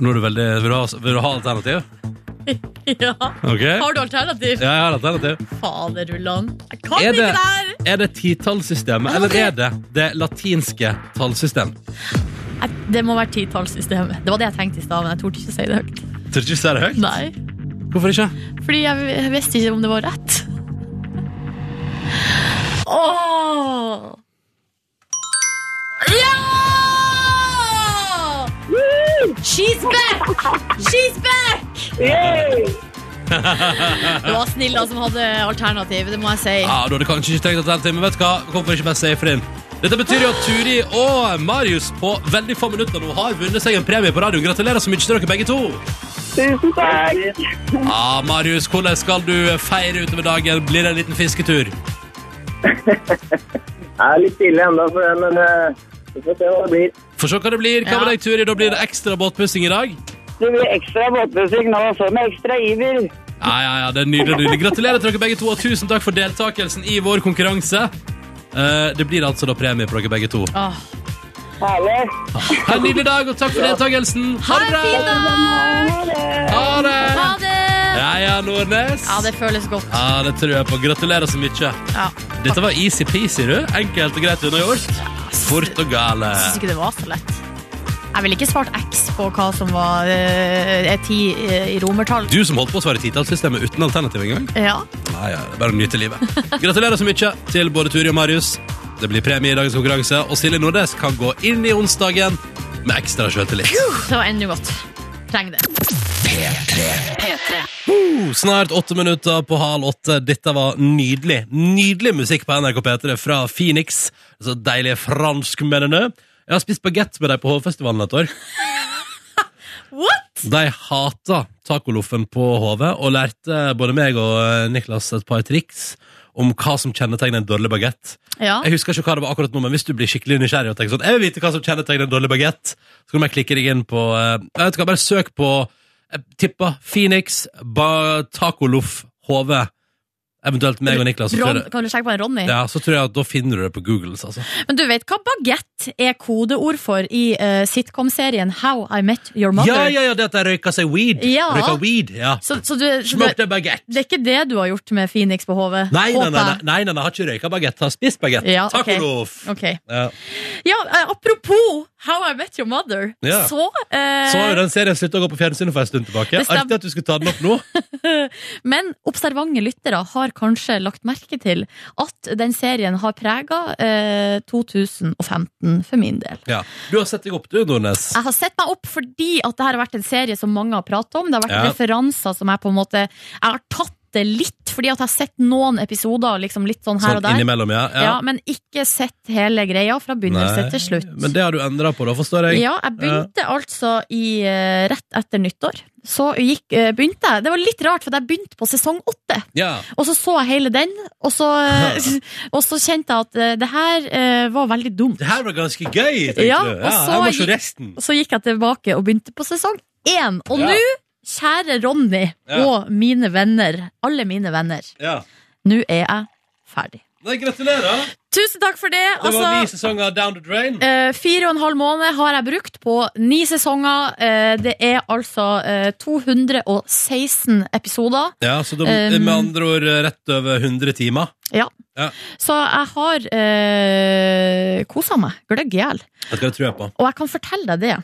Speaker 3: Nå er du veldig Vil du ha, vil du ha alternativ?
Speaker 5: [LAUGHS] Ja.
Speaker 3: Ok. Ja,
Speaker 5: Har du alternativ?
Speaker 3: jeg har alternativ.
Speaker 5: Faderullan. Jeg kan
Speaker 3: Er
Speaker 5: ikke
Speaker 3: det-
Speaker 5: det her!
Speaker 3: Er det titallssystemet, eller er det det latinske tallsystem?
Speaker 5: Jeg- Det må være titallssystemet. Det var det jeg tenkte i stad, men jeg torde ikke å si det høyt.
Speaker 3: Tør ikke si det høyt?
Speaker 5: Nei.
Speaker 3: Hvorfor ikke?
Speaker 5: Fordi jeg, jeg visste ikke om det var rett. Åh! Ja! She's back! She's back!
Speaker 6: Yay!
Speaker 5: Det var Snilla som hadde alternativ, det må jeg si.
Speaker 3: Ja, Du hadde kanskje ikke tenkt alternativ, men vet du hva? Hvorfor ikke bare safe inn? Dette betyr jo at Turi og Marius på veldig få minutter nå har vunnet seg en premie på radioen. Gratulerer så mye til dere begge to!
Speaker 6: Tusen takk.
Speaker 3: Ja, Marius, hvordan skal du feire utover dagen? Blir det en liten fisketur?
Speaker 1: Jeg er litt tidlig ennå, for det, men eh, vi får se hva det blir.
Speaker 3: Få se hva det blir. Hva med
Speaker 5: Ja.
Speaker 3: deg, Turi? Da blir det ekstra båtpussing i dag?
Speaker 6: Det blir ekstra båtmusikk nå, så med ekstra iver.
Speaker 3: Ja, ja, ja, det er nydelig, nydelig. Gratulerer til dere begge to, og tusen takk for deltakelsen i vår konkurranse. Eh, Det blir altså da premie på dere begge to.
Speaker 5: Åh.
Speaker 6: Herlig.
Speaker 3: Ha en nydelig dag, og takk for deltakelsen. Ha det
Speaker 5: fin
Speaker 3: bra!
Speaker 5: dag!
Speaker 6: Ha det.
Speaker 3: Ha det!
Speaker 5: Ha det!
Speaker 3: Ja, ja, Nordnes.
Speaker 5: Ja, det føles godt.
Speaker 3: Ja, det tror jeg på. Gratulerer så mye.
Speaker 5: Ja.
Speaker 3: Dette var easy-peasy, du. Enkelt og greit unnagjort. Fort og gale.
Speaker 5: Jeg syns ikke det var så lett. Jeg ville ikke svart X på hva som var eh, er ti eh, i romertall.
Speaker 3: Du som holdt på å svare titallssystemet uten alternativ engang.
Speaker 5: Ja.
Speaker 3: Nei, ja, det er bare å nyte livet. Gratulerer så mye til både Turi og Marius. Det blir premie i dagens konkurranse, og Silje Nordnes kan gå inn i onsdagen med ekstra sjøltillit.
Speaker 5: Det var ennå godt. Trenger det.
Speaker 3: Snart åtte minutter på halv åtte. Dette var nydelig. Nydelig musikk på NRK P3 fra Phoenix. Så deilige franskmennene. Jeg har spist bagett med dem på Hovefestivalen et år.
Speaker 5: What?
Speaker 3: De hata tacoloffen på HV og lærte både meg og eh, Niklas et par triks om hva som kjennetegner en dårlig bagett.
Speaker 5: Ja.
Speaker 3: Jeg husker ikke hva det var akkurat nå, men hvis du blir skikkelig nysgjerrig og tenker sånn, jeg vil vite hva som kjennetegner en dårlig baguette, så kan du bare klikke deg inn på, eh, jeg vet ikke, bare eh, søk på, jeg tipper Phoenix, ba, tacoloff, HV, Eventuelt meg og Niklas. Så tror
Speaker 5: Ron,
Speaker 3: jeg, det-
Speaker 5: kan du sjekke på en Ronny?
Speaker 3: ja, så tror jeg at da finner du det på Googles, altså.
Speaker 5: Men du vet hva bagett er kodeord for i eh, sitcom-serien How I Met Your Mother?
Speaker 3: Ja, ja, ja, det at de røyker seg weed.
Speaker 5: Ja.
Speaker 3: Røyker weed, ja.
Speaker 5: Så, så, du, så
Speaker 3: Smoked
Speaker 5: det,
Speaker 3: a baguette.
Speaker 5: det er ikke det du har gjort med Phoenix på hodet?
Speaker 3: Nei, nei, nei,
Speaker 5: håper
Speaker 3: nei,
Speaker 5: jeg.
Speaker 3: nei, nei, nei, jeg har ikke røyka bagett, jeg har spist bagett.
Speaker 5: Ja,
Speaker 3: Takk,
Speaker 5: ok.
Speaker 3: Olof.
Speaker 5: Ok.
Speaker 3: Ja.
Speaker 5: Ja, eh, apropos How I Met Your Mother,
Speaker 3: Ja.
Speaker 5: så, eh,
Speaker 3: Så har jo den serien slutta å gå på fjernsynet for en stund tilbake.
Speaker 5: Det stemmer.
Speaker 3: Artig at du skulle ta den opp nå.
Speaker 5: [LAUGHS] Men observante lyttere har kanskje lagt merke til at den serien har prega eh, 2015 for min del.
Speaker 3: Ja. Du har sett deg opp, du, Nordnes.
Speaker 5: Jeg har sett meg opp fordi at dette har vært en serie som mange har pratet om. Det har vært
Speaker 3: Ja.
Speaker 5: referanser som jeg på en måte Jeg har tatt det litt fordi at jeg har sett noen episoder liksom litt sånn her
Speaker 3: Sånn
Speaker 5: og der.
Speaker 3: innimellom, ja.
Speaker 5: Ja. men ikke sett hele greia fra begynnelse
Speaker 3: Nei,
Speaker 5: til slutt.
Speaker 3: Men det har du endra på, da, forstår jeg.
Speaker 5: Ja, jeg begynte altså i, eh, rett etter nyttår. Så gikk, eh, begynte jeg Det var litt rart, for jeg begynte på sesong åtte.
Speaker 3: Ja.
Speaker 5: Og så så jeg hele den, og så,
Speaker 3: [LAUGHS]
Speaker 5: [LAUGHS] og så kjente jeg at eh, det her eh, var veldig dumt.
Speaker 3: Det her var ganske gøy, tenkte
Speaker 5: Ja,
Speaker 3: du.
Speaker 5: og
Speaker 3: Ja,
Speaker 5: så
Speaker 3: jeg må se
Speaker 5: gikk-
Speaker 3: resten.
Speaker 5: Og så gikk jeg tilbake og begynte på sesong én. Og
Speaker 3: Ja.
Speaker 5: nå, kjære Ronny
Speaker 3: Ja.
Speaker 5: og mine venner, alle mine venner,
Speaker 3: Ja.
Speaker 5: nå er jeg ferdig.
Speaker 3: Nei, gratulerer.
Speaker 5: Tusen takk for det.
Speaker 3: Det var ni
Speaker 5: Altså,
Speaker 3: sesonger down the drain.
Speaker 5: eh, fire og en halv måned har jeg brukt på ni sesonger. Eh, det er altså eh, 216 episoder.
Speaker 3: Ja, så de,
Speaker 5: Um,
Speaker 3: med andre ord eh, rett over 100 timer.
Speaker 5: Så jeg har eh, kosa meg gløgg i hjel.
Speaker 3: Det skal jeg tro på.
Speaker 5: Og jeg kan fortelle deg det.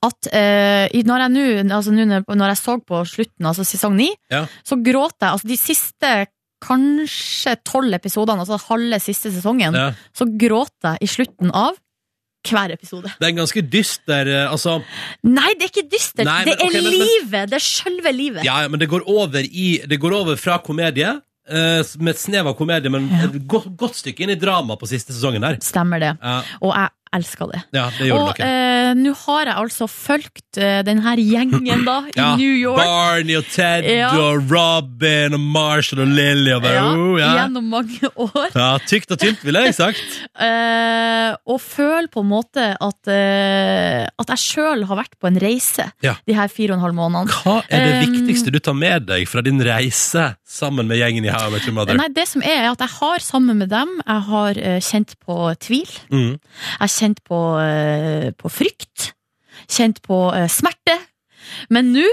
Speaker 5: At eh, i- når jeg nå- altså, nå når- når jeg så på slutten, altså sesong ni,
Speaker 3: Ja.
Speaker 5: så gråt jeg. Altså de siste kanskje tolv episodene, altså halve siste sesongen,
Speaker 3: Ja.
Speaker 5: så gråt jeg i slutten av hver episode.
Speaker 3: Det er en ganske dyster eh, Altså,
Speaker 5: Nei, det er ikke dystert!
Speaker 3: Nei,
Speaker 5: det
Speaker 3: men-
Speaker 5: er
Speaker 3: ok, men- men-
Speaker 5: livet! Det er sjølve livet.
Speaker 3: ja, ja, men det går over i Det går over fra komedie, eh, med et snev av komedie, men
Speaker 5: Ja.
Speaker 3: et godt, godt stykke inn i drama på siste sesongen der.
Speaker 5: Stemmer det.
Speaker 3: Ja,
Speaker 5: Og jeg elsker det.
Speaker 3: ja det gjorde
Speaker 5: og
Speaker 3: det noe.
Speaker 5: eh, nå har jeg altså fulgt eh, den her gjengen, da, i
Speaker 3: [LAUGHS] Ja,
Speaker 5: New York.
Speaker 3: Barney og Ted
Speaker 5: Ja.
Speaker 3: og Robin og Marshall og Lilly og bare,
Speaker 5: ja,
Speaker 3: oh, ja.
Speaker 5: Gjennom mange år.
Speaker 3: ja, Tykt og tynt, ville jeg sagt.
Speaker 5: Eh, og føler på en måte at, eh, at jeg sjøl har vært på en reise
Speaker 3: Ja.
Speaker 5: de her fire og en halv månedene.
Speaker 3: Hva er det
Speaker 5: Um,
Speaker 3: viktigste du tar med deg fra din reise sammen med gjengen i How I Met Your Mother?
Speaker 5: Nei, det som er, er at jeg har sammen med dem Jeg har eh, kjent på tvil,
Speaker 3: Mm.
Speaker 5: jeg har kjent på, eh, på frykt, kjent på eh, smerte. Men nå,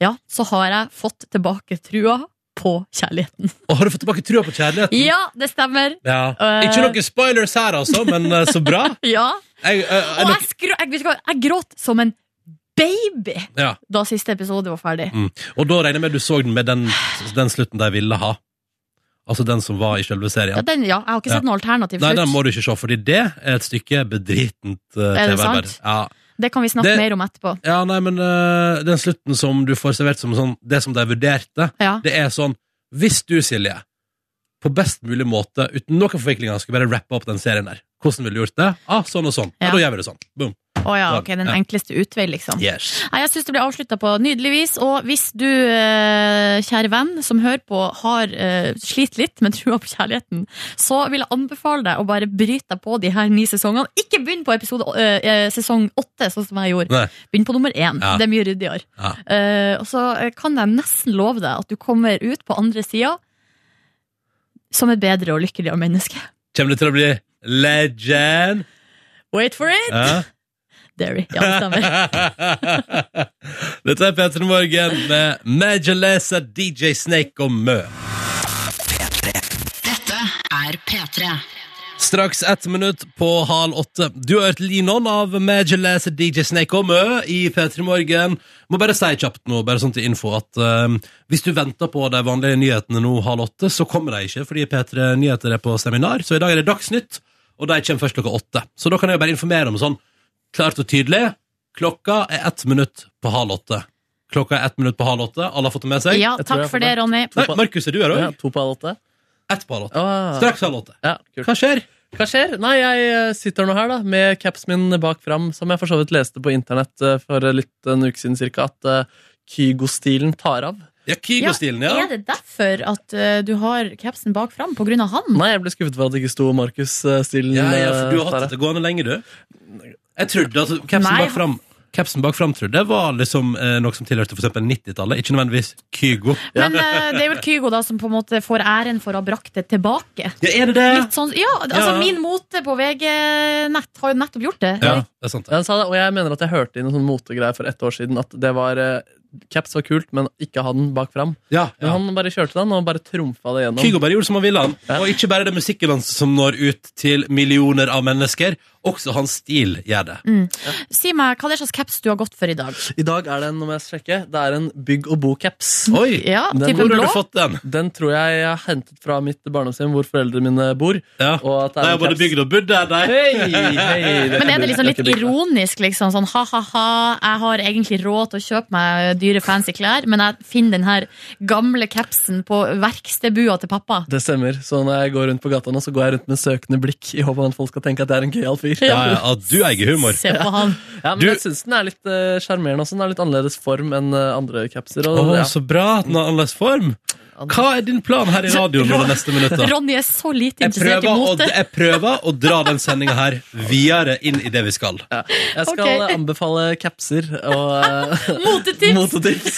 Speaker 5: ja, så har jeg fått tilbake trua på kjærligheten.
Speaker 3: Og har du fått tilbake trua på kjærligheten?
Speaker 5: Ja, det stemmer!
Speaker 3: Ja.
Speaker 5: Eh,
Speaker 3: Ikke noen spoilers her, altså, men eh, så bra.
Speaker 5: Ja.
Speaker 3: Jeg, eh, er
Speaker 5: [LAUGHS] Og
Speaker 3: nok-
Speaker 5: jeg, skrå, jeg, vet ikke hva, jeg gråt som en baby
Speaker 3: Ja.
Speaker 5: da siste episode var ferdig.
Speaker 3: Og da regner jeg med du så den med den, den slutten de ville ha. Altså den som var i selve
Speaker 5: Ja,
Speaker 3: serien.
Speaker 5: den, ja. Jeg har ikke sett
Speaker 3: Ja.
Speaker 5: noe alternativ
Speaker 3: Nei, den
Speaker 5: slutt.
Speaker 3: må du ikke se, fordi det er et stykke bedritent uh,
Speaker 5: Er det
Speaker 3: TV-arbeid.
Speaker 5: sant?
Speaker 3: Ja.
Speaker 5: Det kan vi snakke
Speaker 3: Det-
Speaker 5: mer om etterpå.
Speaker 3: ja, nei, men eh, den slutten som du får servert som sånn, det som de vurderte,
Speaker 5: Ja.
Speaker 3: det er sånn Hvis du, Silje, på best mulig måte, uten noen forviklinger, skulle bare rappe opp den serien der, hvordan ville du gjort det? Ah, sånn og sånn. Ja.
Speaker 5: Ja.
Speaker 3: da gjør vi det sånn. Boom.
Speaker 5: Å ja,
Speaker 3: Ja,
Speaker 5: ok, den
Speaker 3: ja.
Speaker 5: enkleste utvei, liksom.
Speaker 3: Yes.
Speaker 5: Nei, jeg syns det ble avslutta på nydelig vis, og hvis du, eh, kjære venn som hører på, har eh, slitt litt med trua på kjærligheten, så vil jeg anbefale deg å bare bryte deg på de her ni sesongene. Ikke begynn på episode, eh, eh, sesong åtte, sånn som jeg gjorde.
Speaker 3: Nei.
Speaker 5: Begynn på nummer én.
Speaker 3: Ja.
Speaker 5: Det er mye ryddigere.
Speaker 3: Ja.
Speaker 5: Eh, og så eh, kan jeg nesten love deg at du kommer ut på andre sida som et bedre og lykkeligere menneske.
Speaker 3: Kommer det til å bli legend?
Speaker 5: Wait for it!
Speaker 3: Ja. [LAUGHS]
Speaker 5: Derry. Ja, det stemmer.
Speaker 3: Dette er Petter Morgen med Majalesa, DJ Snake og Mø. Straks ett minutt på halv åtte. Du har hørt Linon av Majalesa, DJ Snake og Mø i P3 Morgen. Må bare si kjapt nå, bare sånn til info, at eh, hvis du venter på de vanlige nyhetene nå halv åtte, så kommer de ikke, fordi P3 Nyheter er på seminar. Så i dag er det Dagsnytt, og de kommer først klokka åtte. Så da kan jeg bare informere om sånn klart og tydelig. Klokka er ett minutt på halv åtte. Klokka er ett minutt på halv åtte. Alle har fått det med seg?
Speaker 5: Ja,
Speaker 4: Jeg tror
Speaker 5: takk
Speaker 4: jeg
Speaker 5: for
Speaker 4: får
Speaker 5: det,
Speaker 4: det.
Speaker 5: Ronny.
Speaker 3: Nei, Markus, er du her òg?
Speaker 4: Ja, to på halv åtte.
Speaker 3: Ett på halv åtte.
Speaker 4: Ah,
Speaker 3: Straks halv åtte.
Speaker 4: ja, kult.
Speaker 3: Hva skjer?
Speaker 4: Hva skjer? Nei, jeg eh, sitter nå her da, med capsen min bak fram, som jeg for så vidt leste på internett eh, for litt en uke siden cirka, at eh, Kygo-stilen tar av.
Speaker 3: Ja, Kygo-stilen, ja.
Speaker 5: Er det derfor at eh, du har capsen bak fram? På grunn av han?
Speaker 4: Nei, jeg ble skuffet for at det ikke sto Markus-stilen.
Speaker 3: Ja, ja, for du har
Speaker 4: eh,
Speaker 3: hatt
Speaker 4: der.
Speaker 3: dette gående lenge, du. Jeg trodde at capsen
Speaker 5: Nei.
Speaker 3: bak fram Capsen bak framtru, det var liksom eh, noe som tilhørte for eksempel 90-tallet. Ikke nødvendigvis Kygo.
Speaker 5: Men eh, det er vel Kygo da som på en måte får æren for å ha brakt det tilbake.
Speaker 3: Ja, er det det?
Speaker 5: Litt sånn, ja, altså
Speaker 3: Ja.
Speaker 5: Min mote på VG-nett har jo nettopp gjort det.
Speaker 3: Ja, det er sant. det.
Speaker 4: Ja, han sa det, og jeg mener at jeg hørte i noen sånn motegreier for ett år siden at det var eh, Caps var kult, men ikke ha den bak fram.
Speaker 3: Ja,
Speaker 4: Men
Speaker 3: ja.
Speaker 4: Han bare kjørte den og bare trumfa det gjennom.
Speaker 3: Kygo bare gjorde som han ville, han. Og ikke bare det musikken hans som når ut til millioner av mennesker, også hans stil gjør det.
Speaker 5: Mm. Si meg, Hva er det slags caps du har gått for i dag?
Speaker 4: I dag er det en, nå må jeg sjekke, det er en bygg og bo-caps.
Speaker 3: Oi!
Speaker 5: Ja,
Speaker 4: Den
Speaker 5: type
Speaker 3: Hvor har
Speaker 5: blå?
Speaker 3: du fått den?
Speaker 4: Den tror jeg jeg har hentet fra mitt barndomshjem hvor foreldrene mine bor.
Speaker 3: Ja.
Speaker 4: Og at
Speaker 3: Nei,
Speaker 4: det er
Speaker 3: jeg
Speaker 4: en
Speaker 3: både
Speaker 4: caps.
Speaker 3: bygd og bodd der, nei.
Speaker 4: Hei, hei,
Speaker 5: Men
Speaker 4: det kan
Speaker 5: er
Speaker 4: bli-
Speaker 3: sånn
Speaker 5: det liksom
Speaker 4: det
Speaker 5: litt
Speaker 4: kan bli-
Speaker 5: ironisk? liksom Sånn ha-ha-ha, jeg har egentlig råd til å kjøpe meg dyre, fancy klær, men jeg finner den her gamle capsen på verkstedbua til pappa.
Speaker 4: Det stemmer. Så når jeg går rundt på gata nå, så går jeg rundt med søkende blikk i håp om at folk skal tenke at jeg er en gøyal fyr.
Speaker 3: Ja, ja, at du eier humor.
Speaker 5: Se på han.
Speaker 3: [LAUGHS]
Speaker 4: Ja, men
Speaker 3: Du-
Speaker 4: jeg syns den er litt eh, sjarmerende også. Den har litt annerledes form enn eh, andre capser.
Speaker 3: Å,
Speaker 4: Og, ja.
Speaker 3: så bra at den har annerledes form. Hva er din plan her i radioen de neste
Speaker 5: [LAUGHS]
Speaker 3: minuttene?
Speaker 5: Ronny er så lite
Speaker 3: Jeg prøver,
Speaker 5: interessert i
Speaker 3: å,
Speaker 5: mote.
Speaker 3: jeg prøver å dra den sendinga her videre inn i det vi skal.
Speaker 4: Jeg skal
Speaker 5: Ok.
Speaker 4: eh, [LAUGHS] anbefale capser og eh,
Speaker 5: Motetips!
Speaker 4: motetips.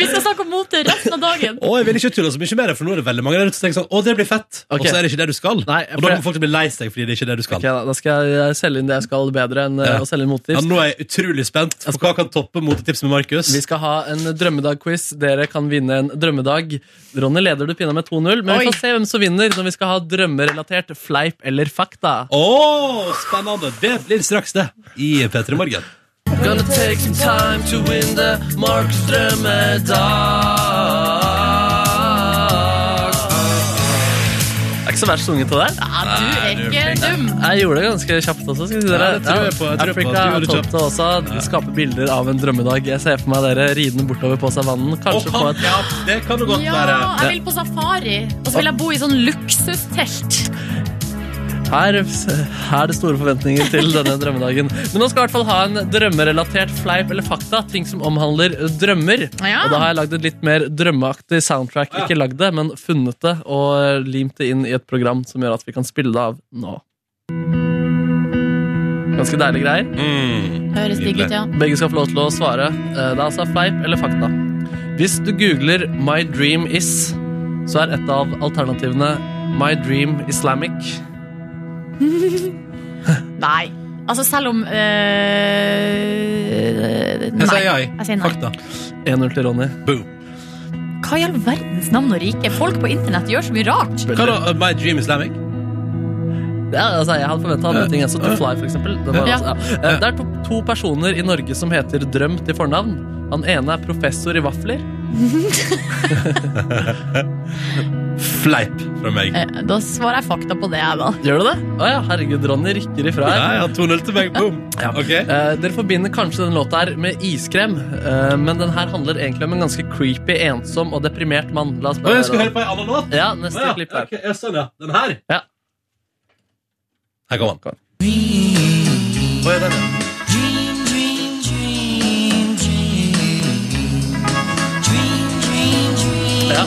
Speaker 5: Vi skal snakke om mote resten av dagen.
Speaker 3: [LAUGHS] Og jeg vil ikke tulle så mye mer, for nå er det veldig mange der ute som tenker sånn Å, det blir fett.
Speaker 4: Ok.
Speaker 3: Og så er det ikke det du skal.
Speaker 4: Nei,
Speaker 3: og da
Speaker 4: for jeg-
Speaker 3: kommer folk til å bli lei seg fordi det ikke er det du skal.
Speaker 4: Ok, da, da skal jeg selge inn det jeg skal, bedre enn eh,
Speaker 3: Ja.
Speaker 4: å selge inn
Speaker 3: Ja,
Speaker 4: motetips.
Speaker 3: nå er jeg utrolig spent på hva kan toppe motetips med Markus.
Speaker 4: Vi skal ha en drømmedag-quiz. Dere kan vinne en drømmedag. Ronny leder du pinna med 2-0, men vi får se hvem som vinner når vi skal ha drømmerelatert fleip eller fakta.
Speaker 3: Å, spennende! Det blir straks, det. I P3 Morgen.
Speaker 4: Gonna take some time to win the Marks drømmedag. Det er ikke så verst sunget til der.
Speaker 5: Ja, du er ikke dum.
Speaker 4: Jeg gjorde det ganske kjapt også. skal jeg si dere.
Speaker 3: Ja, det tror jeg på. Jeg tror på at du
Speaker 4: Afrika
Speaker 3: gjorde det
Speaker 4: tålte
Speaker 3: kjapt.
Speaker 4: også å skape bilder av en drømmedag. Jeg ser for meg dere ridende bortover på savannen.
Speaker 3: Og
Speaker 4: Kanskje på
Speaker 3: han,
Speaker 4: et
Speaker 3: ja, det kan det godt
Speaker 5: Ja,
Speaker 3: være.
Speaker 5: jeg vil på safari, og så vil jeg bo i sånn luksustelt.
Speaker 4: her, her er det store forventninger til denne drømmedagen. Men nå skal jeg i hvert fall ha en drømmerelatert fleip eller fakta. Ting som omhandler drømmer.
Speaker 5: Ja.
Speaker 4: Og da har jeg lagd et litt mer drømmeaktig soundtrack. Ikke lagd det, men funnet det og limt det inn i et program som gjør at vi kan spille det av nå. Ganske deilige greier.
Speaker 3: Mm.
Speaker 5: Høres digg ut, ja.
Speaker 4: Begge skal få lov til å svare. Eh, Det er altså fleip eller fakta. Hvis du googler 'My dream is', så er et av alternativene 'My dream Islamic'.
Speaker 5: Nei. Altså, selv om øh, Nei.
Speaker 3: Jeg sier ja, jeg.
Speaker 5: Jeg sier nei.
Speaker 3: Fakta.
Speaker 4: 1-0 til Ronny.
Speaker 3: Boom.
Speaker 5: Hva i all verdens navn og rike? Folk på internett gjør så mye rart.
Speaker 3: Hva da? uh, My Dream Islamic?
Speaker 4: Ja, altså, jeg hadde forventa andre ting. Altså, to fly, for eksempel. Den var,
Speaker 5: Ja.
Speaker 4: altså, ja. Eh, Det er to, to personer i Norge som heter Drøm til fornavn. Han ene er professor i vafler.
Speaker 3: Fleip fra meg.
Speaker 5: Eh, Da svarer jeg fakta på det, jeg, da.
Speaker 4: Gjør du det? Å ja, herregud, Ronny rykker ifra her.
Speaker 3: Nei, han 2-0 til meg. Boom.
Speaker 4: Ja.
Speaker 3: Ok.
Speaker 4: Eh, dere forbinder kanskje denne låta her med iskrem, eh, men den her handler egentlig om en ganske creepy, ensom og deprimert mann. La oss
Speaker 3: Og
Speaker 4: bare
Speaker 3: jeg skal
Speaker 4: høre
Speaker 3: høre på ei annen låt.
Speaker 4: da. Ja, neste
Speaker 3: Å,
Speaker 4: klipp her.
Speaker 3: ok, ja, sånn, ja. Den her?
Speaker 4: Ja.
Speaker 3: Her kommer den. Å, ja, den, ja.
Speaker 4: Ja,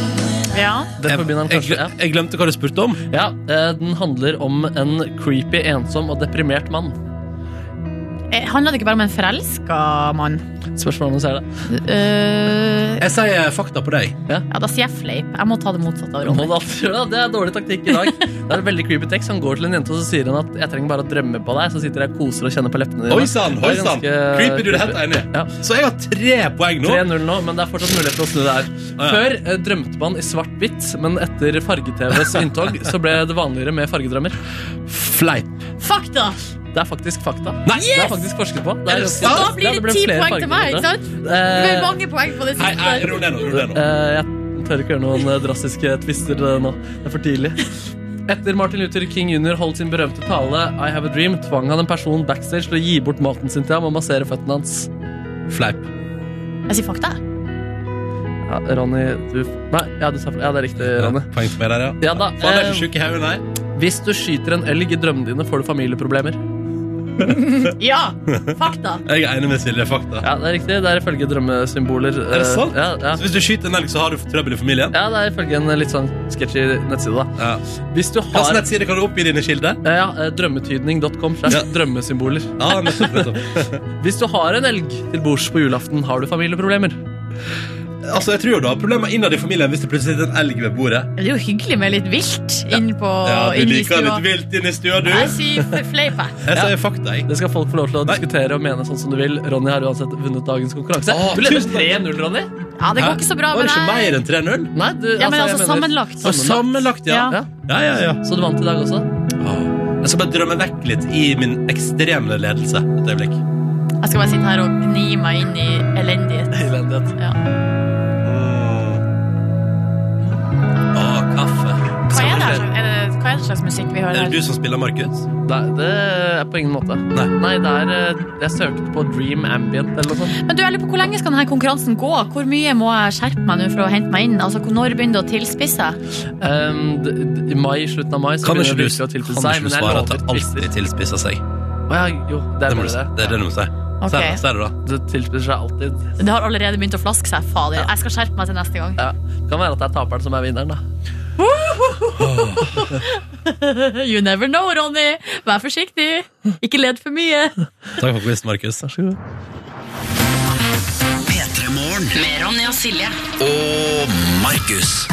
Speaker 5: Ja.
Speaker 4: dere
Speaker 3: Jeg,
Speaker 4: forbinder den
Speaker 3: jeg,
Speaker 4: kanskje ja.
Speaker 3: glem- jeg glemte hva du spurte om.
Speaker 4: ja, eh, den handler om en creepy, ensom og deprimert mann.
Speaker 5: Eh, Handler det ikke bare om en forelska mann?
Speaker 4: Spørsmålet om du ser det.
Speaker 5: Eh,
Speaker 3: Jeg sier fakta på deg.
Speaker 5: ja, da sier jeg fleip. Jeg må ta det motsatte av
Speaker 4: Må
Speaker 5: Ronny.
Speaker 4: [LAUGHS] du alltid gjøre Det Det er dårlig taktikk i dag. Det er en veldig creepy tekst. Han går til en jente og så sier han at 'jeg trenger bare å drømme på deg'. Så sitter jeg og koser og kjenner på leppene dine.
Speaker 3: Oi sann!
Speaker 4: Det er ganske
Speaker 3: Creepy, du er helt enig.
Speaker 4: Ja.
Speaker 3: Så jeg har tre poeng nå.
Speaker 4: 3-0 nå, men det er fortsatt mulighet til å snu det her.
Speaker 3: ja.
Speaker 4: Før eh, drømte man i svart-hvitt, men etter farge-TVs inntog så ble det vanligere med fargedrømmer.
Speaker 3: Fleip.
Speaker 5: Fakta!
Speaker 4: Det er faktisk fakta.
Speaker 3: Nei!
Speaker 4: Det er faktisk forsket på. Det
Speaker 3: Er
Speaker 4: er
Speaker 3: det
Speaker 4: ganske-
Speaker 3: sant?
Speaker 5: Da
Speaker 4: Ja,
Speaker 5: blir
Speaker 4: ble
Speaker 5: det ti
Speaker 4: flere
Speaker 5: poeng til meg,
Speaker 4: fargedrømmer.
Speaker 5: ikke sant? Det blir
Speaker 4: Eh,
Speaker 5: mange poeng på det
Speaker 3: Nei, nei,
Speaker 5: siste.
Speaker 3: ro ned nå. ro ned nå.
Speaker 4: eh, jeg tør ikke gjøre noen eh, drastiske twister eh, nå. Det er for tidlig. Etter Martin Luther King jr. holdt sin berømte tale I Have a Dream, tvang han en person backstage til å gi bort maten sin til ham og massere føttene hans. Eh,
Speaker 3: Fleip.
Speaker 5: Jeg sier fakta.
Speaker 4: Ja, Ronny, du Nei, ja, du sa Ja, det er riktig,
Speaker 3: Ja,
Speaker 4: Ronny.
Speaker 3: Poeng til meg der, ja.
Speaker 4: Ja da,
Speaker 3: Faen, jeg er
Speaker 4: eh,
Speaker 3: ikke sjuk i hodet, nei.
Speaker 4: Hvis du skyter en elg i drømmene dine, får du familieproblemer.
Speaker 5: Ja! Fakta.
Speaker 3: Jeg er enig med Silje. Fakta.
Speaker 4: Ja, det er riktig. Det er ifølge drømmesymboler. eh,
Speaker 3: Er det sant?
Speaker 4: Ja, ja.
Speaker 3: Så hvis du skyter en elg, så har du trøbbel i familien?
Speaker 4: ja, det er ifølge en litt sånn sketchy nettside, da.
Speaker 3: Ja.
Speaker 4: Hvis du
Speaker 3: Hvilken
Speaker 4: har
Speaker 3: nettside kan du oppgi dine kilder?
Speaker 4: ja, ja, eh, drømmetydning.com slash
Speaker 3: Ja.
Speaker 4: drømmesymboler.
Speaker 3: Ja, nettopp, nettopp.
Speaker 4: Hvis du har en elg til bords på julaften, har du familieproblemer.
Speaker 3: [LAUGHS] Altså, jeg tror jo du har problemer innad i familien hvis det plutselig sitter en elg ved bordet.
Speaker 5: [LAUGHS] Det er jo hyggelig med litt vilt inn på
Speaker 3: Ja, du
Speaker 5: inn i
Speaker 3: liker
Speaker 5: stua.
Speaker 3: litt vilt inn i stua, du.
Speaker 5: Jeg sier f- fleip, jeg.
Speaker 3: Jeg sier fakta, jeg.
Speaker 4: Det skal folk få lov til å
Speaker 3: Nei.
Speaker 4: diskutere og mene sånn som du vil. Ronny har uansett vunnet dagens konkurranse.
Speaker 3: Å,
Speaker 4: du leder
Speaker 3: tusen takk.
Speaker 4: 3-0, Ronny.
Speaker 5: Ja, det går ikke så bra,
Speaker 3: Var
Speaker 5: men
Speaker 3: det ikke
Speaker 5: jeg
Speaker 3: mer enn 3-0?
Speaker 4: Nei, du,
Speaker 5: Ja, men altså,
Speaker 4: jeg mener-
Speaker 5: sammenlagt.
Speaker 3: Og sammenlagt, ja. Ah.
Speaker 4: Ja.
Speaker 3: Ja, ja, ja.
Speaker 4: Så du vant i dag også?
Speaker 3: Åh. Jeg skal bare drømme vekk litt i min ekstreme ledelse et øyeblikk.
Speaker 5: Jeg skal bare sitte her og gni meg inn i elendighet.
Speaker 4: Elendighet.
Speaker 5: Ja.
Speaker 3: Å, kaffe.
Speaker 5: Hva er det, her som- er det, hva er det slags musikk vi hører
Speaker 3: Er det
Speaker 5: her?
Speaker 3: du som spiller, Markus?
Speaker 4: Nei, det er på ingen måte.
Speaker 3: Nei.
Speaker 4: det er eh, Jeg søkte på Dream Ambient eller noe sånt.
Speaker 5: Men du, jeg lurer på Hvor lenge skal denne konkurransen gå? Hvor mye må jeg skjerpe meg nå for å hente meg inn? Altså, hvor- Når begynner det å tilspisse?
Speaker 4: Ehm, d- d- I mai, slutten av mai så
Speaker 3: Kan ikke
Speaker 4: begynner
Speaker 3: du,
Speaker 4: det virkelig å
Speaker 3: kan
Speaker 4: tilpisse seg.
Speaker 3: ikke du
Speaker 4: Men jeg
Speaker 3: svare at
Speaker 4: lover
Speaker 3: det
Speaker 4: twister.
Speaker 3: alltid tilspisser seg?
Speaker 4: Å ja, jo, det
Speaker 3: Det,
Speaker 4: er
Speaker 3: må
Speaker 4: bare
Speaker 3: du, si.
Speaker 4: det.
Speaker 3: det er det du må si.
Speaker 5: Ok.
Speaker 3: Si det- Si det, da.
Speaker 4: Det tilpasser seg alltid.
Speaker 5: Det har allerede begynt å flaske seg. Fader, jeg skal skjerpe meg til neste gang.
Speaker 4: Ja. Det kan være at det er taperen som er vinneren, da.
Speaker 5: You never know, Ronny. Vær forsiktig. Ikke led for mye.
Speaker 3: Takk for quizen, Markus.
Speaker 4: Vær så god.
Speaker 2: P3 Morgen
Speaker 7: Med Ronny og Silje.
Speaker 2: og Markus.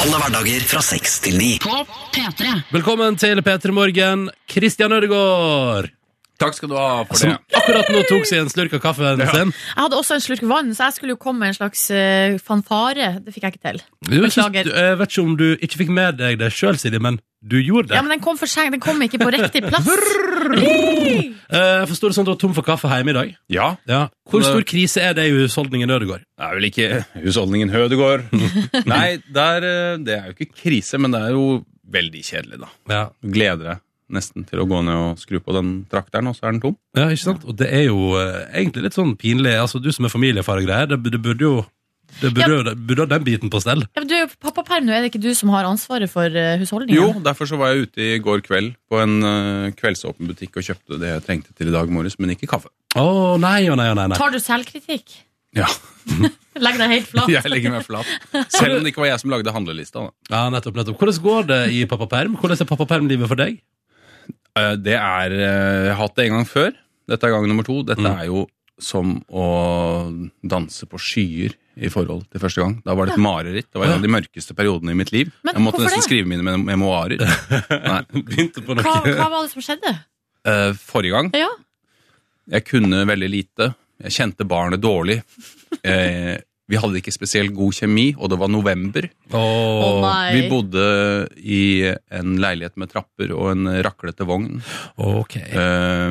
Speaker 2: Alle hverdager fra seks til ni.
Speaker 7: På P3.
Speaker 3: Velkommen til P3 Morgen, Christian Ødegaard.
Speaker 8: Takk skal du ha for
Speaker 3: Som
Speaker 8: det.
Speaker 3: akkurat nå tok seg en slurk av kaffen sin.
Speaker 5: Jeg hadde også en slurk vann, så jeg skulle jo komme med en slags eh, fanfare. Det fikk jeg ikke til.
Speaker 3: Du, jeg synes-
Speaker 5: Beklager.
Speaker 3: Jeg vet ikke om du ikke fikk med deg det sjøl, Silje, men du gjorde det.
Speaker 5: Ja, men Den kom for sent. Den kom ikke på riktig plass.
Speaker 3: Eh, Jeg forstår det sånn at du var tom for kaffe hjemme i dag.
Speaker 8: Ja.
Speaker 3: Ja. Hvor
Speaker 8: Det-
Speaker 3: stor krise er det i husholdningen Ødegaard?
Speaker 8: Det er vel ikke husholdningen Hødegård. Nei, det er, eh, det er jo ikke krise, men det er jo veldig kjedelig, da.
Speaker 3: Ja.
Speaker 8: Du gleder deg nesten til å gå ned og skru på den trakteren, og så er den tom.
Speaker 3: ja, ikke sant? Og det er jo eh, egentlig litt sånn pinlig. Altså, Du som er familiefar og greier, det, bu- det burde jo det burde, jo- det burde ha den biten på stell.
Speaker 5: Ja, men du er jo pappaperm nå, er det ikke du som har ansvaret for eh, husholdningen?
Speaker 8: Jo, derfor så var jeg ute i går kveld på en eh, kveldsåpen butikk og kjøpte det jeg trengte til i dag morges, men ikke kaffe.
Speaker 3: Å nei, å nei, å nei. nei.
Speaker 5: Tar du selvkritikk?
Speaker 8: Ja,
Speaker 5: Legg deg helt flat.
Speaker 8: [LAUGHS] jeg legger meg flat. Selv om det ikke var jeg som lagde handlelista. Da.
Speaker 3: Ja, nettopp, nettopp. Hvordan går det i pappaperm? Hvordan er pappapermlivet for deg?
Speaker 8: Eh, Det er eh, Jeg har hatt det en gang før. Dette er gang nummer to. Dette
Speaker 3: Mm.
Speaker 8: er jo som å danse på skyer i forhold til første gang. Da var det et mareritt. Det var en av de mørkeste periodene i mitt liv.
Speaker 5: Men
Speaker 8: jeg måtte
Speaker 5: hvorfor det?
Speaker 8: nesten skrive mine mem-
Speaker 5: [LAUGHS]
Speaker 8: memoarer. Nei.
Speaker 3: Begynte på
Speaker 5: Hva, hva var det som skjedde?
Speaker 8: Eh, Forrige gang
Speaker 5: Ja.
Speaker 8: Jeg kunne veldig lite. Jeg kjente barnet dårlig. Eh, Vi hadde ikke spesielt god kjemi, og det var november.
Speaker 5: Å nei.
Speaker 8: Vi bodde i en leilighet med trapper og en raklete vogn.
Speaker 3: Ok.
Speaker 8: Eh,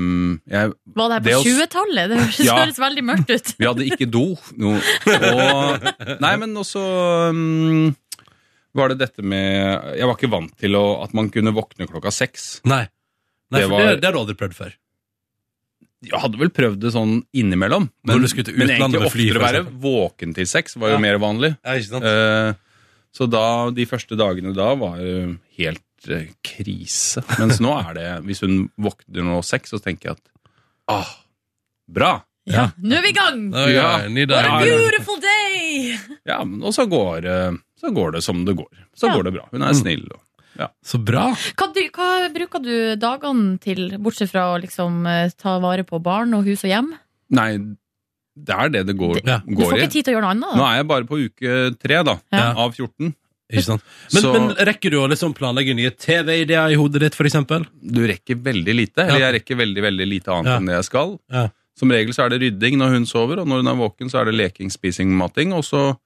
Speaker 8: Jeg
Speaker 5: Var det her
Speaker 8: det
Speaker 5: på
Speaker 8: å s-
Speaker 5: 20-tallet? Det høres
Speaker 8: Ja.
Speaker 5: høres veldig mørkt ut.
Speaker 8: Vi hadde ikke do. No. Og, nei, men også um, var det dette med Jeg var ikke vant til å, at man kunne våkne klokka seks.
Speaker 3: Nei. Nei,
Speaker 8: Det
Speaker 3: for
Speaker 8: var-
Speaker 3: det, det har du aldri prøvd før.
Speaker 8: Jeg hadde vel prøvd det sånn innimellom,
Speaker 3: Når
Speaker 8: men,
Speaker 3: du skulle til
Speaker 8: men
Speaker 3: utlandet
Speaker 8: egentlig
Speaker 3: med fly,
Speaker 8: oftere
Speaker 3: for
Speaker 8: være
Speaker 3: eksempel.
Speaker 8: våken til seks var jo
Speaker 3: Ja.
Speaker 8: mer vanlig.
Speaker 3: Ja, ikke sant?
Speaker 8: Eh, så da, de første dagene da var eh, helt eh, krise. Mens nå er det Hvis hun våkner nå seks, så tenker jeg at ah, bra!
Speaker 5: Ja. Nå er vi i gang!
Speaker 3: Nå er vi i
Speaker 8: ja.
Speaker 3: gang. Ny dag.
Speaker 5: What a
Speaker 8: Ja, ja.
Speaker 5: beautiful day!
Speaker 8: Ja, men, og så går, eh, så går det som det går. Så
Speaker 5: Ja.
Speaker 8: går det bra. Hun
Speaker 3: Mm.
Speaker 8: er snill. og
Speaker 3: Så bra.
Speaker 5: Hva, du, hva bruker du dagene til, bortsett fra å liksom eh, ta vare på barn og hus og hjem?
Speaker 8: Nei, det er det det går,
Speaker 3: Ja.
Speaker 5: Du får
Speaker 8: går i.
Speaker 5: ikke tid til å gjøre noe annet?
Speaker 8: Nå
Speaker 5: da.
Speaker 8: er jeg bare på uke tre da,
Speaker 5: Ja.
Speaker 8: av 14.
Speaker 3: Ikke sant? Men,
Speaker 8: Så-
Speaker 3: men rekker du å liksom planlegge nye TV-ideer i hodet ditt, for eksempel?
Speaker 8: Du rekker veldig lite, eller
Speaker 3: Ja.
Speaker 8: jeg rekker veldig, veldig lite annet
Speaker 3: Ja.
Speaker 8: enn det jeg skal.
Speaker 3: Ja.
Speaker 8: Som regel så er det rydding når hun sover, og når hun er våken så er det leking, spising, mating, og så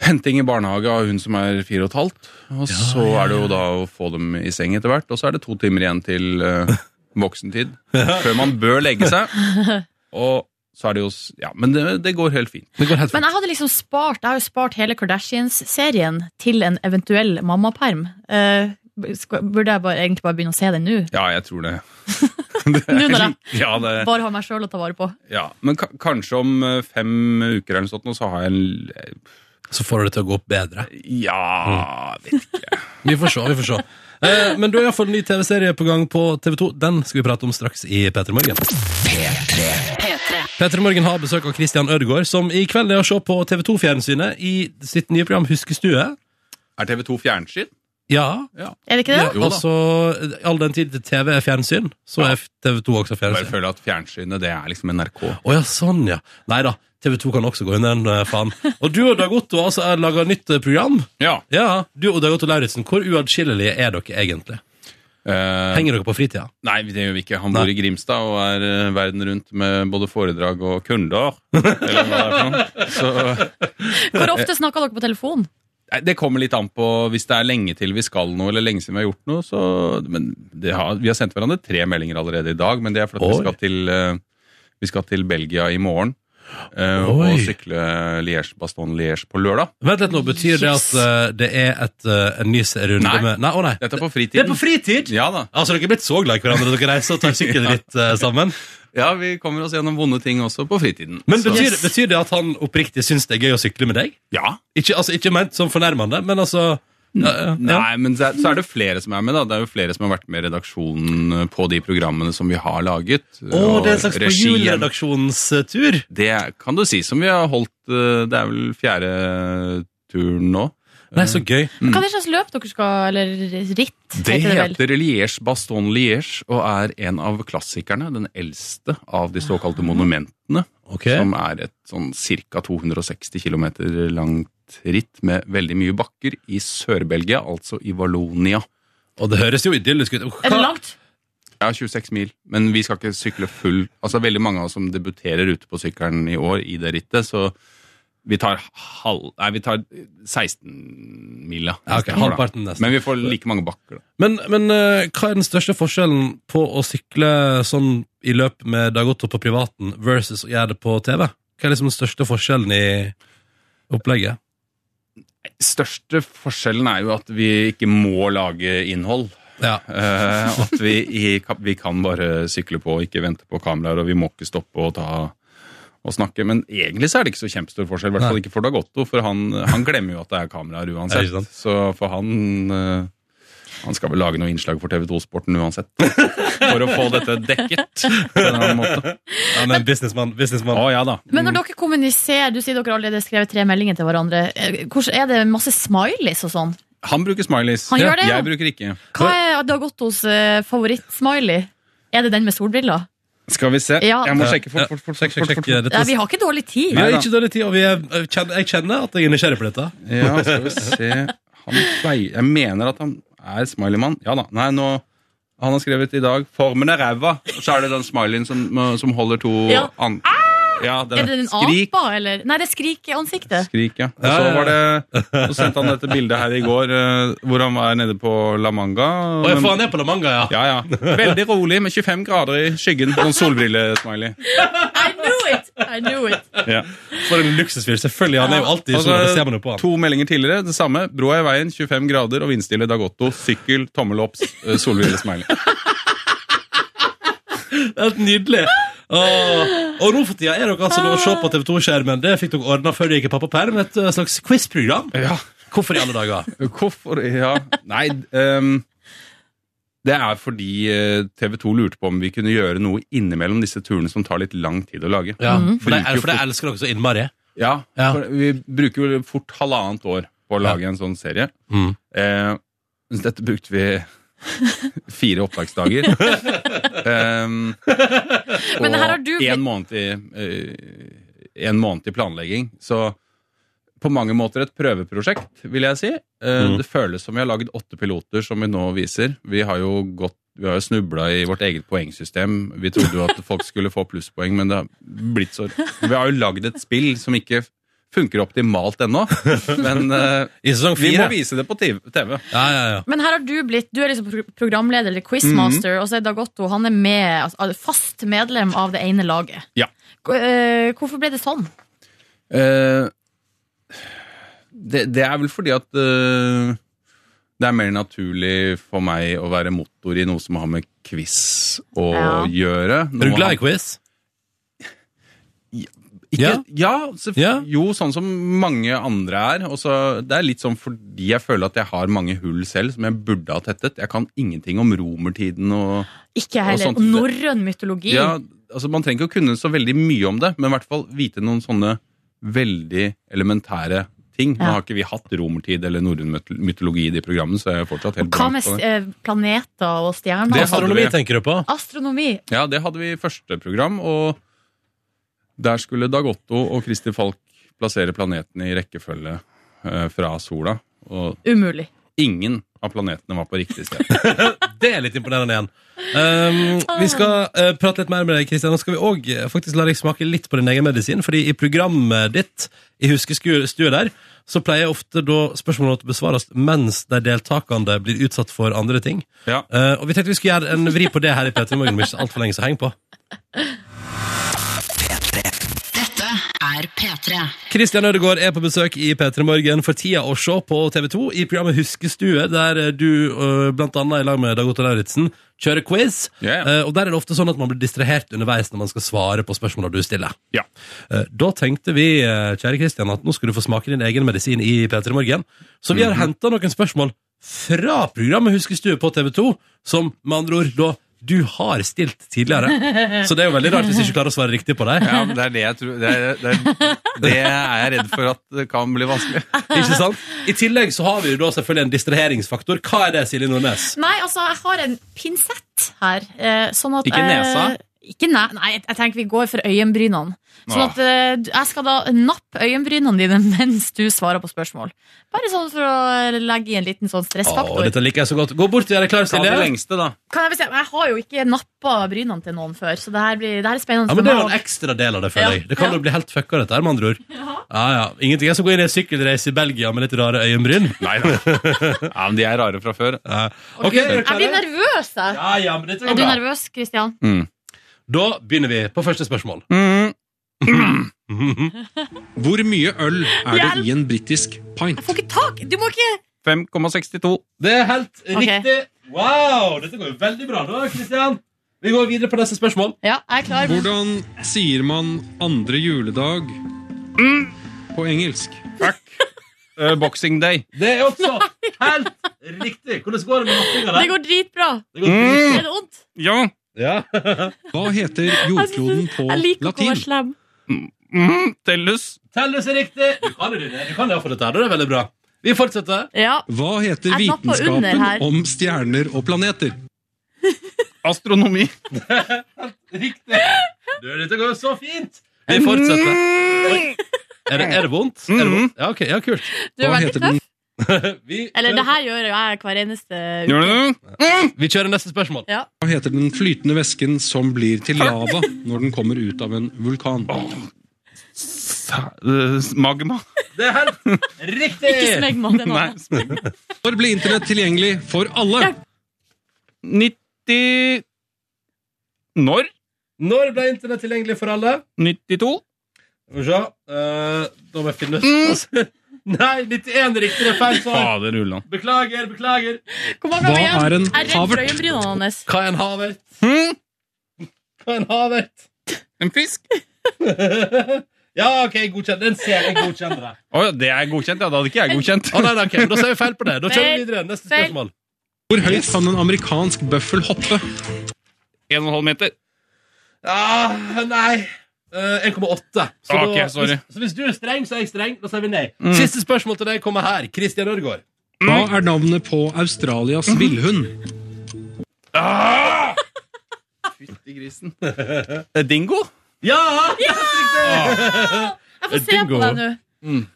Speaker 8: henting i barnehage av hun som er fire og et halvt. Og så er det jo da å få dem i seng etter hvert, og så er det to timer igjen
Speaker 5: [LAUGHS]
Speaker 8: til eh, voksentid, før man bør legge seg.
Speaker 5: [LAUGHS]
Speaker 8: Og så er det jo, s- ja, men det, det går helt fint.
Speaker 3: Det går helt
Speaker 5: Men
Speaker 3: fint.
Speaker 5: jeg hadde liksom spart Jeg har jo spart hele Kardashians-serien til en eventuell mammaperm. Eh, skal- burde jeg bare, egentlig bare begynne å se den nå?
Speaker 8: Ja, jeg tror det.
Speaker 5: Nå når jeg
Speaker 8: Ja, det,
Speaker 5: bare har meg sjøl å ta vare på.
Speaker 8: Ja, men ka kanskje om eh, fem uker eller noe sånt, nå så har jeg en l-
Speaker 3: så får du det til å gå opp bedre.
Speaker 8: Ja vet ikke.
Speaker 3: Vi får se, vi får se. Eh, men du har iallfall ny TV-serie på gang på TV2. Den skal vi prate om straks i P3 Morgen. P3 Morgen har besøk av Christian Ødegaard, som i kveld er å se på TV2-fjernsynet i sitt nye program Huskestue.
Speaker 8: Er TV 2 fjernsyn?
Speaker 3: Ja,
Speaker 5: Er det ikke det?
Speaker 8: Jo da.
Speaker 3: altså all den tid TV er fjernsyn, så er TV2 også
Speaker 8: Jeg bare
Speaker 3: fjernsyn.
Speaker 8: føler at fjernsynet det er liksom NRK.
Speaker 3: Å ja, sånn, ja. Nei da, TV2 kan også gå under den, eh, faen. Og du og Dag Otto har altså eh, laga nytt eh, program.
Speaker 8: Ja.
Speaker 3: Ja, Du og Dag Otto Lauritzen, hvor uatskillelige er dere egentlig?
Speaker 8: Eh,
Speaker 3: Henger dere på fritida?
Speaker 8: nei, det gjør vi ikke. Han bor i Grimstad og er eh, verden rundt med både foredrag og [LAUGHS] kunder. Eller hva det er for noe. Så
Speaker 5: Hvor ofte snakker dere på telefon?
Speaker 8: Nei, Det kommer litt an på hvis det er lenge til vi skal noe, eller lenge siden vi har gjort noe. Så, men det har, vi har sendt hverandre tre meldinger allerede i dag, men det er fordi
Speaker 3: Oi.
Speaker 8: at vi skal, til, eh, vi skal til Belgia i morgen. eh,
Speaker 3: Oi.
Speaker 8: og sykle Liège-Baston-Liège på lørdag.
Speaker 3: Vent litt nå, Betyr det at
Speaker 5: Yes.
Speaker 3: eh, det er et, eh, en ny runde
Speaker 8: Nei.
Speaker 3: med Nei, å nei.
Speaker 8: Dette er på fritiden.
Speaker 3: fritid!
Speaker 8: Ja da.
Speaker 3: Altså, Dere er blitt så glad i hverandre at dere reiser og tar sykkelritt eh, sammen.
Speaker 8: Ja, vi kommer oss gjennom vonde ting også på fritiden.
Speaker 3: Men
Speaker 8: Så-
Speaker 3: betyr, betyr det at han oppriktig syns det er gøy å sykle med deg?
Speaker 8: Ja.
Speaker 3: Ikke, altså, ikke ment som fornærmende, men altså ja, ja, ja.
Speaker 8: Nei, men så er- så er det flere som er med, da. Det er jo flere som har vært med i redaksjonen eh, på de programmene som vi har laget.
Speaker 3: Å, det er en slags
Speaker 8: Og regien-
Speaker 3: juleredaksjonstur?
Speaker 8: Det kan du si, som vi har holdt eh, Det er vel fjerde turen nå.
Speaker 3: Nei, så gøy.
Speaker 5: Hva er det slags løp dere skal, eller ritt?
Speaker 8: Mm. Det
Speaker 5: heter det vel?
Speaker 8: heter Liège Baston Liège og er en av klassikerne. Den eldste av de
Speaker 5: Ah.
Speaker 8: såkalte monumentene.
Speaker 3: Ok.
Speaker 8: Som er et sånn ca. 260 km langt ritt med veldig mye bakker i Sør-Belgia, altså i Valonia.
Speaker 3: Og det høres jo idyllisk ut.
Speaker 5: Er det
Speaker 3: Hva-
Speaker 5: langt?
Speaker 8: Ja, 26 mil, men vi skal ikke sykle full. Altså Veldig mange av oss som debuterer ute på sykkelen i år i det rittet, så vi tar, halv, nei, vi tar 16 mila.
Speaker 3: Ja, ok, halvparten nesten.
Speaker 8: Men vi får like mange bakker. da.
Speaker 3: Men, men eh, hva er den største forskjellen på å sykle sånn i løp med Dag Otto på privaten versus å gjøre det på TV? Hva er liksom den største forskjellen i opplegget?
Speaker 8: Største forskjellen er jo at vi ikke må lage innhold.
Speaker 3: Ja.
Speaker 8: Eh, at vi, i, vi kan bare sykle på og ikke vente på kameraer, og vi må ikke stoppe og ta og snakke. Men egentlig så er det ikke så kjempestor forskjell, i hvert fall
Speaker 3: Nei.
Speaker 8: ikke for Dag Otto, for han, han glemmer jo at det er kameraer
Speaker 3: Ja, ikke sant.
Speaker 8: uansett. Så for han eh, Han skal vel lage noe innslag for TV2 Sporten uansett. For å få dette dekket på en eller annen måte.
Speaker 3: Han er en businessmann.
Speaker 8: Å
Speaker 3: businessmann.
Speaker 8: ja da.
Speaker 5: Men når dere kommuniserer, du sier dere allerede har skrevet tre meldinger til hverandre. Eh, hvordan- Er det masse smileys og sånn?
Speaker 8: Han bruker smileys.
Speaker 5: Han gjør det, ja.
Speaker 8: Jeg bruker ikke.
Speaker 5: Hva er Dag Ottos eh, favorittsmiley? Er det den med solbriller?
Speaker 8: Skal vi se.
Speaker 5: Ja.
Speaker 8: Jeg må
Speaker 3: Ja,
Speaker 8: sjekke
Speaker 3: ja.
Speaker 8: fort, fort, fort.
Speaker 3: Sjekk, sjekk,
Speaker 8: fort, fort,
Speaker 3: sjekk.
Speaker 8: fort.
Speaker 3: Dette,
Speaker 5: Ja, vi har ikke dårlig tid.
Speaker 3: vi har ikke dårlig tid, og vi er, jeg kjenner- jeg kjenner at jeg er nysgjerrig på dette.
Speaker 8: Ja, skal vi se han pleier, Jeg mener at han er smileymann. Ja da. Nei, nå Han har skrevet i dag 'Formen er ræva', og så er det den smileyen som, som holder to
Speaker 5: Ja. Ah!
Speaker 8: an... Ja, den,
Speaker 5: Er det den
Speaker 8: skrik.
Speaker 5: apa, eller? Nei, det er skrikeansiktet.
Speaker 8: Skrik, ja. Og
Speaker 3: Ja,
Speaker 8: så
Speaker 3: ja,
Speaker 8: var det Så sendte han dette bildet her i går, eh, hvor han var nede på La
Speaker 3: Å,
Speaker 8: Manga.
Speaker 3: jeg
Speaker 8: Men-
Speaker 3: får han ned på La Manga, ja.
Speaker 8: ja, ja. Veldig rolig, med 25 grader i skyggen. Sånn solbrillesmiley.
Speaker 5: I knew it! I knew it.
Speaker 8: Ja.
Speaker 3: For en luksusfyr. Selvfølgelig. Han er jo alltid
Speaker 8: Og
Speaker 3: sånn. Det ser man jo på
Speaker 8: så
Speaker 3: han.
Speaker 8: Altså, to meldinger tidligere. Det samme. Broa i veien, 25 grader og vindstille Dag Otto. Sykkel, tommel opp, s- eh,
Speaker 3: [LAUGHS]
Speaker 8: solbrillesmiley.
Speaker 3: Helt nydelig. Åh. Og nå for tida er dere altså nå å se på TV2-skjermen. Det fikk dere ordna før dere gikk i pappaperm. Et eh, slags quiz-program.
Speaker 8: Ja.
Speaker 3: Hvorfor i alle dager?
Speaker 8: Hvorfor Ja, nei ehm, Det er fordi eh, TV 2 lurte på om vi kunne gjøre noe innimellom disse turene som tar litt lang tid å lage.
Speaker 3: Ja, for, det,
Speaker 8: Bruker jo
Speaker 3: for det elsker dere så innmari.
Speaker 8: Ja,
Speaker 3: Ja.
Speaker 8: For Vi bruker jo fort halvannet år på å lage en sånn serie.
Speaker 3: Mm.
Speaker 8: Eh, så dette brukte vi [LAUGHS]
Speaker 3: [LAUGHS]
Speaker 8: fire opptaksdager. Ehm,
Speaker 5: Men her har
Speaker 8: og
Speaker 5: du-
Speaker 8: en måned, i, eh, en måned i planlegging. Så på mange måter et prøveprosjekt, vil jeg si. Eh,
Speaker 3: Mm.
Speaker 8: Det føles som vi har lagd åtte piloter, som vi nå viser. Vi har jo gått vi har jo snubla i vårt eget poengsystem. Vi
Speaker 3: [LAUGHS]
Speaker 8: trodde jo at folk skulle få plusspoeng, men det har blitt så Vi har jo lagd et spill som ikke funker optimalt
Speaker 3: [LAUGHS]
Speaker 8: ennå, men eh,
Speaker 3: I sesong
Speaker 8: vi
Speaker 3: fire.
Speaker 8: må vise det på TV.
Speaker 3: Ja, ja, ja.
Speaker 5: Men her har du blitt Du er liksom pro- programleder eller quizmaster,
Speaker 8: Mhm.
Speaker 5: og så er Dag Otto han er med, altså, fast medlem av det ene laget.
Speaker 8: Ja.
Speaker 5: K- eh, Hvorfor ble det sånn?
Speaker 8: Eh, det, det er vel fordi at eh, det er mer naturlig for meg å være motor i noe som har med quiz å
Speaker 5: Ja.
Speaker 8: gjøre.
Speaker 3: Er du glad i quiz?
Speaker 8: Ikke, ja,
Speaker 3: Ja.
Speaker 8: selvf-
Speaker 3: Ja.
Speaker 8: Jo, sånn som mange andre er. Og så- det er litt sånn fordi jeg føler at jeg har mange hull selv som jeg burde ha tettet. Jeg kan ingenting om romertiden og
Speaker 5: Ikke
Speaker 8: Og
Speaker 5: heller.
Speaker 8: sånt-
Speaker 5: Norrøn mytologi.
Speaker 8: ja, altså Man trenger ikke å kunne så veldig mye om det, men i hvert fall vite noen sånne veldig elementære ting. Nå
Speaker 5: Ja.
Speaker 8: har ikke vi hatt romertid eller norrøn myt- mytologi i de programmene, så jeg er fortsatt helt
Speaker 5: Hva med
Speaker 8: blank på det.
Speaker 5: eh, planeter og
Speaker 8: Det
Speaker 5: stjerner?
Speaker 8: hadde
Speaker 3: Astronomi
Speaker 8: vi.
Speaker 3: tenker du på?
Speaker 5: Astronomi.
Speaker 8: Ja, det hadde vi i første program, og der skulle Dag Otto og Kristi Falk plassere planetene i rekkefølge eh, fra sola. Og
Speaker 5: Umulig.
Speaker 8: ingen av planetene var på riktig sted.
Speaker 3: Det er litt imponerende igjen. Um, vi skal eh, prate litt mer med deg, Kristian. Og skal vi òg faktisk la deg smake litt på din egen medisin. Fordi i programmet ditt, i Huskestua der, så pleier ofte da spørsmålene å besvares mens de deltakende blir utsatt for andre ting.
Speaker 8: [LAUGHS] Ja.
Speaker 3: Eh, og vi tenkte vi skulle gjøre en vri på det her i P3 Morgen, men ikke altfor lenge, så heng på.
Speaker 7: Dette er P3.
Speaker 3: Kristian Ødegaard er på besøk i P3 Morgen for tida å se på TV 2 i programmet Huskestue, der eh, du eh, blant annet i lag med Dag Otto Lauritzen kjører quiz.
Speaker 8: Ja.
Speaker 3: Eh, Og der er det ofte sånn at man blir distrahert underveis når man skal svare på spørsmåla du stiller.
Speaker 8: Ja.
Speaker 3: Eh, Da tenkte vi, eh, kjære Kristian, at nå skal du få smake din egen medisin i P3 Morgen. Så vi har
Speaker 8: Mhm.
Speaker 3: henta noen spørsmål fra programmet Huskestue på TV 2, som med andre ord da du har stilt
Speaker 8: [LAUGHS]
Speaker 3: tidligere. Så det er jo veldig rart hvis du ikke klarer å svare riktig på dem.
Speaker 8: Ja, men det er det jeg tror det er, det, er, det er jeg redd for at det kan bli vanskelig.
Speaker 3: Ikke sant? I tillegg så har vi jo da selvfølgelig en distraheringsfaktor. Hva er det, Silje Nordnes?
Speaker 5: Nei, altså, jeg har en pinsett her. eh, Sånn at,
Speaker 8: Ikke nesa?
Speaker 5: Eh, ikke ne nei, jeg- jeg tenker vi går for øyenbrynene. Sånn at eh, du- jeg skal da nappe øyenbrynene dine [LAUGHS] mens du svarer på spørsmål. Bare sånn for å legge i en liten sånn
Speaker 3: Å,
Speaker 5: stressfaktor.
Speaker 3: dette liker jeg så godt. Gå bort og gjør deg klar,
Speaker 8: Ta det
Speaker 3: Silje.
Speaker 8: lengste, da.
Speaker 5: Kan jeg bestemme? Jeg har jo ikke nappa brynene til noen før, så det her, blir, det her er spennende
Speaker 3: Ja,
Speaker 5: for
Speaker 3: men Det er jo
Speaker 5: meg.
Speaker 3: en ekstra del av det, føler
Speaker 5: Ja,
Speaker 3: jeg. Det kan jo
Speaker 5: ja.
Speaker 3: bli helt fucka, dette her, med andre ord. Ja, ja. Ingenting er som å gå inn i en sykkelreise i Belgia med litt rare øyenbryn.
Speaker 8: Nei da. Ja, men de er rare fra før.
Speaker 3: Ja.
Speaker 5: Å,
Speaker 3: Ok,
Speaker 5: Gud,
Speaker 3: er dere
Speaker 5: jeg blir
Speaker 3: klare?
Speaker 5: nervøs, jeg.
Speaker 3: [LAUGHS] Ja, ja, men dette
Speaker 5: Er
Speaker 3: går
Speaker 5: du
Speaker 3: bra.
Speaker 5: nervøs, Kristian?
Speaker 3: Da begynner vi på første spørsmål.
Speaker 8: Mm.
Speaker 5: [LAUGHS]
Speaker 9: Hvor mye øl er det
Speaker 5: Hjelp!
Speaker 9: i en britisk pint?
Speaker 5: Jeg får ikke tak! Du må ikke
Speaker 8: 5,62.
Speaker 3: Det er helt
Speaker 5: Ok.
Speaker 3: riktig. Wow, dette går jo veldig bra da, Kristian. Vi går videre på neste spørsmål.
Speaker 5: Ja, jeg er klar.
Speaker 9: Hvordan sier man andre juledag på engelsk?
Speaker 8: Eh, Boxing Day.
Speaker 3: Det er også
Speaker 5: [LAUGHS]
Speaker 3: helt riktig. Hvordan går det med nappinga
Speaker 5: Det
Speaker 3: der?
Speaker 5: går Mm. dritbra.
Speaker 3: Det går fint.
Speaker 5: Er det vondt?
Speaker 8: Ja.
Speaker 3: Ja.
Speaker 9: Hva heter jordkloden på
Speaker 5: Jeg liker ikke å
Speaker 9: latin?
Speaker 5: være slem.
Speaker 8: Mm, tellus.
Speaker 3: Tellus er riktig! Du kan det, du. Du kan iallfall dette. her, da. Det er veldig bra. Vi fortsetter.
Speaker 5: Ja.
Speaker 9: Hva heter
Speaker 5: Jeg napper under
Speaker 9: vitenskapen
Speaker 5: her.
Speaker 9: om stjerner og planeter?
Speaker 8: [LAUGHS] Astronomi.
Speaker 3: Riktig. Du, dette går jo så fint! Vi fortsetter. Oi. Er det, er det vondt? Er det vondt? Ja, ok, ja, kult.
Speaker 5: Du er
Speaker 9: Hva
Speaker 5: veldig
Speaker 9: heter
Speaker 5: tøff.
Speaker 9: den?
Speaker 3: Vi,
Speaker 5: Eller det her gjør jo jeg hver eneste uke.
Speaker 8: Gjør du det?
Speaker 3: vi kjører neste spørsmål.
Speaker 9: Hva heter den flytende væsken som blir til lava når den kommer ut av en vulkan?
Speaker 8: Ta- eh, Magma.
Speaker 3: Det er helt riktig!
Speaker 5: Ikke smegg meg, det nå.
Speaker 8: Nei.
Speaker 9: Når ble internett tilgjengelig for alle?
Speaker 8: 90 Når?
Speaker 3: Når ble internett tilgjengelig for alle?
Speaker 8: 92?
Speaker 3: Skal vi se. Eh, da må jeg finne Mm. [LAUGHS] Nei, 91 riktig. Det er feil svar.
Speaker 8: Fader ulland.
Speaker 3: Beklager, beklager.
Speaker 5: Hvor mange har
Speaker 9: Hva
Speaker 5: vi igjen?
Speaker 9: er en
Speaker 5: Jeg er redd for
Speaker 9: havert?
Speaker 5: øyenbrynene hans.
Speaker 3: Hva er en havert? Hva er en havert?
Speaker 8: En fisk?
Speaker 3: Ja, OK, godkjenn. Den ser jeg godkjenner deg.
Speaker 8: Å ja, det er godkjent, ja. Da hadde ikke jeg godkjent.
Speaker 3: Å, nei, nei, ok, Da sier vi feil på det. Da kjører vi
Speaker 5: Feil.
Speaker 3: videre. Neste
Speaker 5: Feil.
Speaker 3: spørsmål.
Speaker 9: Hvor høyt kan en amerikansk bøffel hoppe?
Speaker 8: 1,5 meter.
Speaker 3: Ah, nei. Eh, 1,8. Så,
Speaker 8: Ok,
Speaker 3: da-
Speaker 8: sorry.
Speaker 3: hvis- så hvis du er streng, så er jeg streng. Da sier vi nei. Siste spørsmål til deg kommer her. Christian Ørgaard.
Speaker 9: Hva er navnet på Australias
Speaker 4: Mhm.
Speaker 9: villhund?
Speaker 8: Eh, Dingo?
Speaker 3: Ja!
Speaker 5: Jeg får se på
Speaker 3: Dingo.
Speaker 5: deg nå.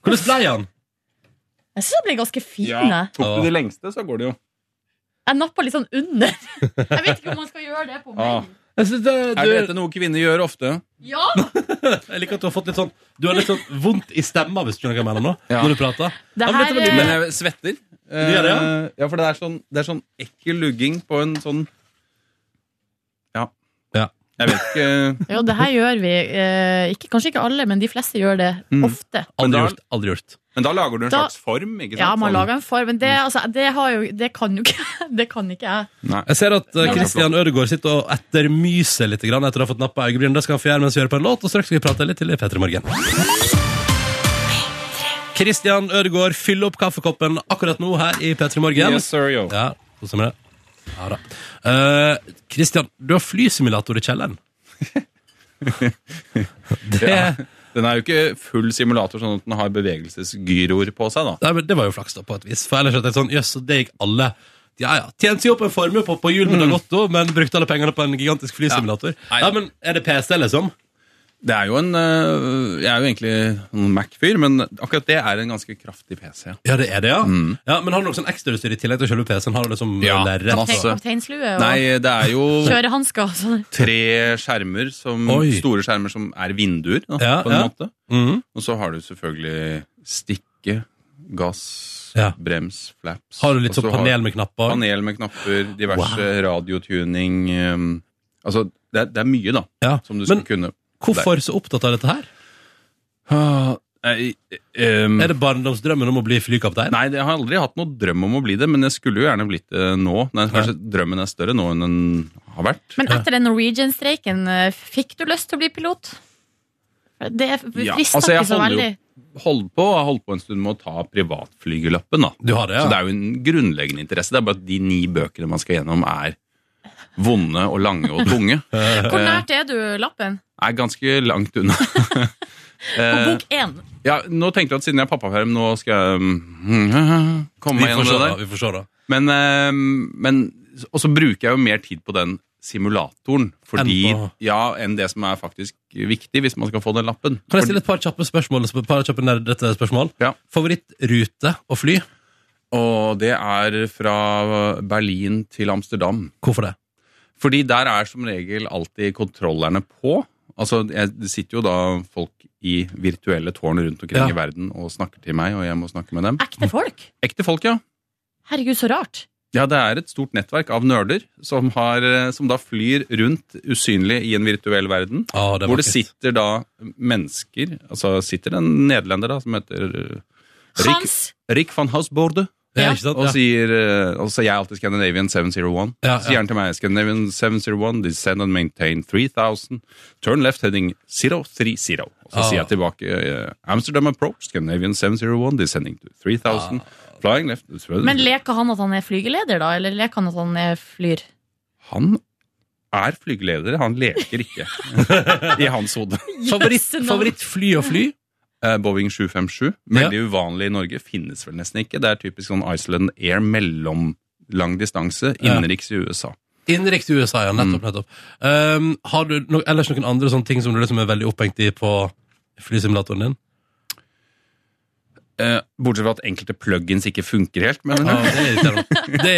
Speaker 3: Hvordan ble han?
Speaker 5: Jeg syns jeg ble ganske fin. jeg.
Speaker 8: Tok du de lengste, så går det jo.
Speaker 5: Jeg nappa litt sånn under. Jeg vet ikke om man skal gjøre det på
Speaker 8: Ah.
Speaker 5: meg.
Speaker 3: Jeg, synes det,
Speaker 8: Er dette
Speaker 3: du,
Speaker 8: noe kvinner gjør ofte? [LAUGHS]
Speaker 5: Ja!
Speaker 3: jeg liker at du har fått litt sånn Du har litt sånn vondt i stemma hvis du skjønner hva jeg mener nå.
Speaker 8: Ja.
Speaker 3: Når du prater.
Speaker 5: Det
Speaker 3: Ja, men dette var
Speaker 5: her
Speaker 3: litt-
Speaker 5: eh,
Speaker 8: Men jeg svetter. Eh,
Speaker 3: gjør det,
Speaker 8: ja, for det er sånn, det er sånn ekkel lugging på en sånn Ja.
Speaker 3: Ja.
Speaker 8: Jeg vet
Speaker 5: [LAUGHS]
Speaker 8: ikke
Speaker 5: Jo, det her gjør vi. eh, Ikke, kanskje ikke alle, men de fleste gjør det
Speaker 8: Mm.
Speaker 5: ofte.
Speaker 8: Men
Speaker 3: Aldri
Speaker 8: da-
Speaker 3: gjort. aldri gjort
Speaker 8: Men da lager du en
Speaker 5: Da-
Speaker 8: slags form, ikke sant?
Speaker 5: Ja, man
Speaker 8: Sånn-
Speaker 5: lager en form, men det, altså, det, har jo, det kan jo ikke [LAUGHS] Det kan ikke jeg.
Speaker 8: Nei.
Speaker 3: Jeg ser at eh,
Speaker 5: Ja.
Speaker 3: Christian Ødegaard sitter og ettermyser litt grann etter å ha fått nappa øyebryn. Det skal han få gjøre mens vi hører på en låt, og straks skal vi prate litt til i P3 Morgen. Christian Ødegaard fyller opp kaffekoppen akkurat nå her i P3 Morgen.
Speaker 8: Yes, sir, yo.
Speaker 3: Ja, sånn som det. Ja da. Eh, Christian, du har flysimulator i
Speaker 8: [LAUGHS]
Speaker 3: kjelleren. det,
Speaker 8: Ja. Den er jo ikke full simulator, sånn at den har bevegelsesgyroer på seg, da.
Speaker 3: Nei, men det var jo flaks, da, på et vis. For ellers hadde jeg sånn Jøss, så det gikk alle. Ja, ja. Tjente jo opp en formue på, på julen med Dagotto, men brukte alle pengene på en gigantisk flysimulator.
Speaker 8: Mm. Nei,
Speaker 3: Ja,
Speaker 8: da.
Speaker 3: men Er det PC, liksom?
Speaker 8: Det er jo en øh, Jeg er jo egentlig en Mac-fyr, men akkurat det er en ganske kraftig Mm. PC.
Speaker 3: Ja, det er det, ja. ja men har du noe sånn ekstrautstyr i tillegg til selve PC-en? Har du liksom
Speaker 8: Ja,
Speaker 3: lerret?
Speaker 8: masse.
Speaker 5: Kaptein- Kapteinslue og
Speaker 8: Nei, det er jo
Speaker 5: kjørehansker. og sånn.
Speaker 8: tre skjermer som
Speaker 3: Oi.
Speaker 8: Store skjermer som er vinduer, da,
Speaker 3: Ja,
Speaker 8: på en
Speaker 3: ja.
Speaker 8: måte.
Speaker 3: Mhm.
Speaker 8: Og så har du selvfølgelig stikke, gass,
Speaker 3: Ja.
Speaker 8: brems, flaps.
Speaker 3: Har du litt
Speaker 8: Og
Speaker 3: sånn
Speaker 8: så har-
Speaker 3: panel med knapper?
Speaker 8: Panel med knapper, diverse radiotuning ehm, Altså, det er, det er mye, da,
Speaker 3: Ja.
Speaker 8: som du
Speaker 3: Men
Speaker 8: skulle kunne.
Speaker 3: hvorfor så opptatt av dette her?
Speaker 8: Ah, nei, ehm,
Speaker 3: Er det barndomsdrømmen om å bli flykaptein?
Speaker 8: Nei, det- jeg har aldri hatt noen drøm om å bli det, men jeg skulle jo gjerne blitt det nå. Nei, kanskje drømmen er større nå enn den har vært.
Speaker 5: Men etter den Norwegian-streiken, eh, fikk du lyst til å bli pilot? Det frister
Speaker 8: Ja, altså, jeg
Speaker 5: ikke så
Speaker 8: holder jo-
Speaker 5: veldig.
Speaker 8: Holdt på, har holdt på en stund med å ta privatflygerlappen, da.
Speaker 3: Du har det, ja.
Speaker 8: Så det er jo en grunnleggende interesse. Det er bare at de ni bøkene man skal gjennom, er vonde og lange
Speaker 3: [LAUGHS]
Speaker 8: og tunge.
Speaker 5: Hvor nært er du lappen?
Speaker 8: Er ganske langt unna. [LAUGHS]
Speaker 5: På
Speaker 8: Eh,
Speaker 5: bok én.
Speaker 8: ja, nå tenkte jeg at siden jeg er pappaperm, nå skal jeg mm, [LAUGHS] komme
Speaker 3: Vi
Speaker 8: meg
Speaker 3: får
Speaker 8: gjennom
Speaker 3: se,
Speaker 8: det
Speaker 3: da.
Speaker 8: der.
Speaker 3: Vi får se, da.
Speaker 8: Men, eh, men Og så bruker jeg jo mer tid på den simulatoren fordi,
Speaker 3: Enn på-
Speaker 8: ja, enn det som er faktisk viktig hvis man skal få den lappen.
Speaker 3: Kan jeg stille et par kjappe spørsmål? Et par kjappe nerdete spørsmål?
Speaker 8: Ja.
Speaker 3: Favorittrute å fly?
Speaker 8: Og det er fra Berlin til Amsterdam.
Speaker 3: Hvorfor det?
Speaker 8: Fordi der er som regel alltid kontrollerne på. Altså, jeg, Det sitter jo da folk i virtuelle tårn rundt omkring
Speaker 3: Ja.
Speaker 8: i verden og snakker til meg, og jeg må snakke med dem.
Speaker 5: Ekte folk?
Speaker 8: Ekte folk, ja.
Speaker 5: Herregud, så rart.
Speaker 8: Ja, det er et stort nettverk av nerder som, har, eh, som da flyr rundt usynlig i en virtuell verden.
Speaker 3: Ah, det er
Speaker 8: hvor det
Speaker 3: vakkert.
Speaker 8: sitter da mennesker Altså sitter en nederlender da som heter eh, Rick,
Speaker 5: Hans!
Speaker 8: Rick van Hausborde.
Speaker 3: Ja,
Speaker 5: Ja.
Speaker 3: ikke sant?
Speaker 8: Og
Speaker 3: Ja.
Speaker 8: sier eh, Og så er jeg alltid Scandinavian 701.
Speaker 3: Ja,
Speaker 8: Så sier han til meg Scandinavian 701, descend and maintain 3000, turn left heading 030. Og så
Speaker 3: Ah.
Speaker 8: sier jeg tilbake eh, Amsterdam approach, Scandinavian 701, descending to 3000,
Speaker 3: Ah.
Speaker 8: flying left
Speaker 5: Men leker han at han er flygeleder, da? Eller leker han at han er flyr?
Speaker 8: Han er flygeleder, han
Speaker 3: [LAUGHS]
Speaker 8: leker ikke i hans hode.
Speaker 3: Favoritt,
Speaker 5: Jøsse navn.
Speaker 3: favorittfly å fly?
Speaker 8: Eh, Boeing 757, veldig uvanlig i Norge, finnes vel nesten ikke. Det er typisk sånn Iceland Air mellomlang distanse,
Speaker 3: Ja.
Speaker 8: innenriks i USA.
Speaker 3: Innenriks i USA, ja. Nettopp. nettopp. Um, har du no ellers noen andre sånne ting som du liksom er veldig opphengt i på flysimulatoren din?
Speaker 8: Eh, bortsett fra at enkelte plugins ikke funker helt, men [LAUGHS]
Speaker 3: Ah, det er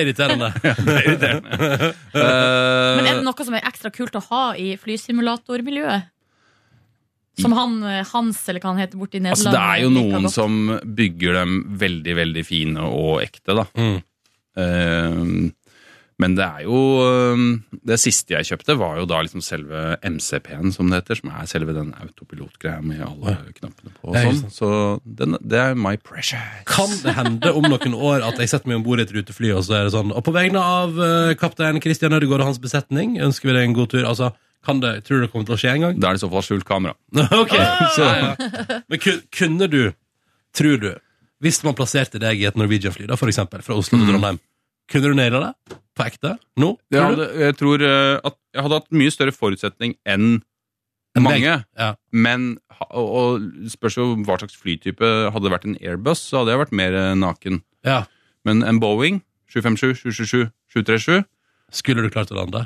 Speaker 3: irriterende. Det er irriterende.
Speaker 8: eh,
Speaker 5: Men er det noe som er ekstra kult å ha i flysimulatormiljøet? Som han, eh, Hans, eller hva han heter, borti Nederland.
Speaker 8: Altså, det er jo
Speaker 5: liker
Speaker 8: noen
Speaker 5: godt.
Speaker 8: som bygger dem veldig, veldig fine og ekte, da.
Speaker 3: Mm.
Speaker 8: Eh, men det er jo eh, Det siste jeg kjøpte, var jo da liksom selve MCP-en, som det heter. Som er selve den autopilotgreia med alle knappene på og
Speaker 3: Ja, ikke
Speaker 8: sånn. Så den, det er my pressure.
Speaker 3: Kan det hende om noen år at jeg setter meg om bord i et rutefly, og så er det sånn Og på vegne av eh, kaptein Christian Ødegaard og hans besetning ønsker vi deg en god tur. Altså, kan det, tror du det kommer til å skje en gang?
Speaker 8: Da er det i så fall skjult kamera.
Speaker 3: [LAUGHS] ok, så, Men kun, kunne du, tror du, hvis man plasserte deg i et Norwegian-fly, da, for eksempel, fra Oslo til Trondheim, kunne du naila det? På ekte? Nå?
Speaker 8: Jeg
Speaker 3: Tror du?
Speaker 8: hadde, jeg tror eh, at jeg hadde hatt mye større forutsetning enn mange.
Speaker 3: Ja.
Speaker 8: Men ha- og, og spørs jo hva slags flytype. Hadde det vært en Airbus, så hadde jeg vært mer eh, naken.
Speaker 3: Ja.
Speaker 8: Men en Boeing 757, 777, 737
Speaker 3: Skulle du klart å lande?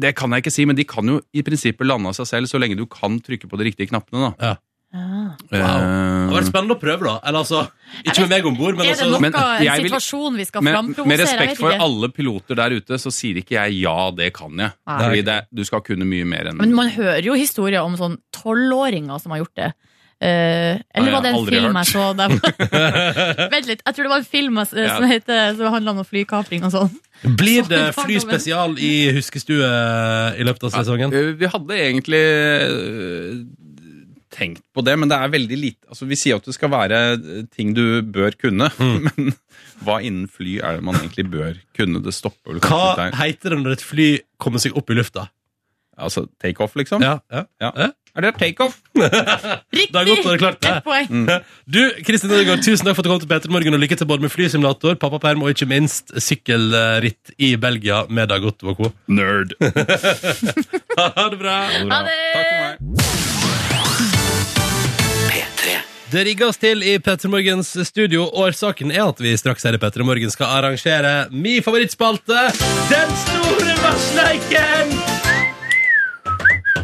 Speaker 8: Det kan jeg ikke si, men de kan jo i prinsippet lande av seg selv så lenge du kan trykke på de riktige knappene. da.
Speaker 5: Ah.
Speaker 3: Det hadde
Speaker 8: Eh,
Speaker 3: vært spennende å prøve, da. Eller altså, ikke med meg om bord, men
Speaker 5: Er det
Speaker 3: altså
Speaker 5: noe,
Speaker 8: Men jeg
Speaker 5: en
Speaker 8: vil-
Speaker 5: situasjon vi skal
Speaker 8: Med,
Speaker 5: framprovosere?
Speaker 8: med
Speaker 5: Jeg
Speaker 8: respekt
Speaker 5: vet
Speaker 8: for
Speaker 5: ikke.
Speaker 8: alle piloter der ute, så sier ikke jeg ja, det kan jeg.
Speaker 5: Nei.
Speaker 3: Mm.
Speaker 8: Fordi det, du skal kunne mye mer enn
Speaker 5: Men man hører jo historier om sånn tolvåringer som har gjort det. eh, Eller
Speaker 8: Nei,
Speaker 5: var det en
Speaker 8: aldri
Speaker 5: film jeg
Speaker 8: hørt.
Speaker 5: så
Speaker 3: [LAUGHS]
Speaker 5: der Vent litt, jeg tror det var en film jeg, s-
Speaker 8: Ja.
Speaker 5: som, heter, som handla om noe flykapring og sånn.
Speaker 3: Blir det flyspesial i huskestue i løpet av sesongen?
Speaker 8: Eh, Vi hadde egentlig eh, tenkt på det, men det er veldig lite Altså, Vi sier at det skal være eh, ting du bør kunne, [LAUGHS]
Speaker 3: Mm.
Speaker 8: men hva innen fly er det man egentlig bør kunne? Det stopper vel kanskje
Speaker 3: Hva
Speaker 8: litt der.
Speaker 3: heter det når et fly kommer seg opp i lufta?
Speaker 8: Altså takeoff, liksom?
Speaker 3: Ja, ja.
Speaker 8: Ja.
Speaker 3: Ja.
Speaker 8: Er det takeoff?
Speaker 5: Riktig!
Speaker 3: Det er godt når det er klart, Mm. det.
Speaker 5: Et poeng.
Speaker 3: Du, Kristin Ødegaard, tusen takk for at du kom til Peter Morgen, og lykke til både med flysimulator, pappaperm og ikke minst sykkelritt i Belgia med Dagot Woko.
Speaker 8: Nerd.
Speaker 3: [LAUGHS] Ha det bra!
Speaker 5: Ha det!
Speaker 8: Takk for meg.
Speaker 2: P3.
Speaker 3: Det rigges til i Petter Morgens studio. Årsaken er at vi straks her i Petter Morgen skal arrangere min favorittspalte, Den store vassleiken!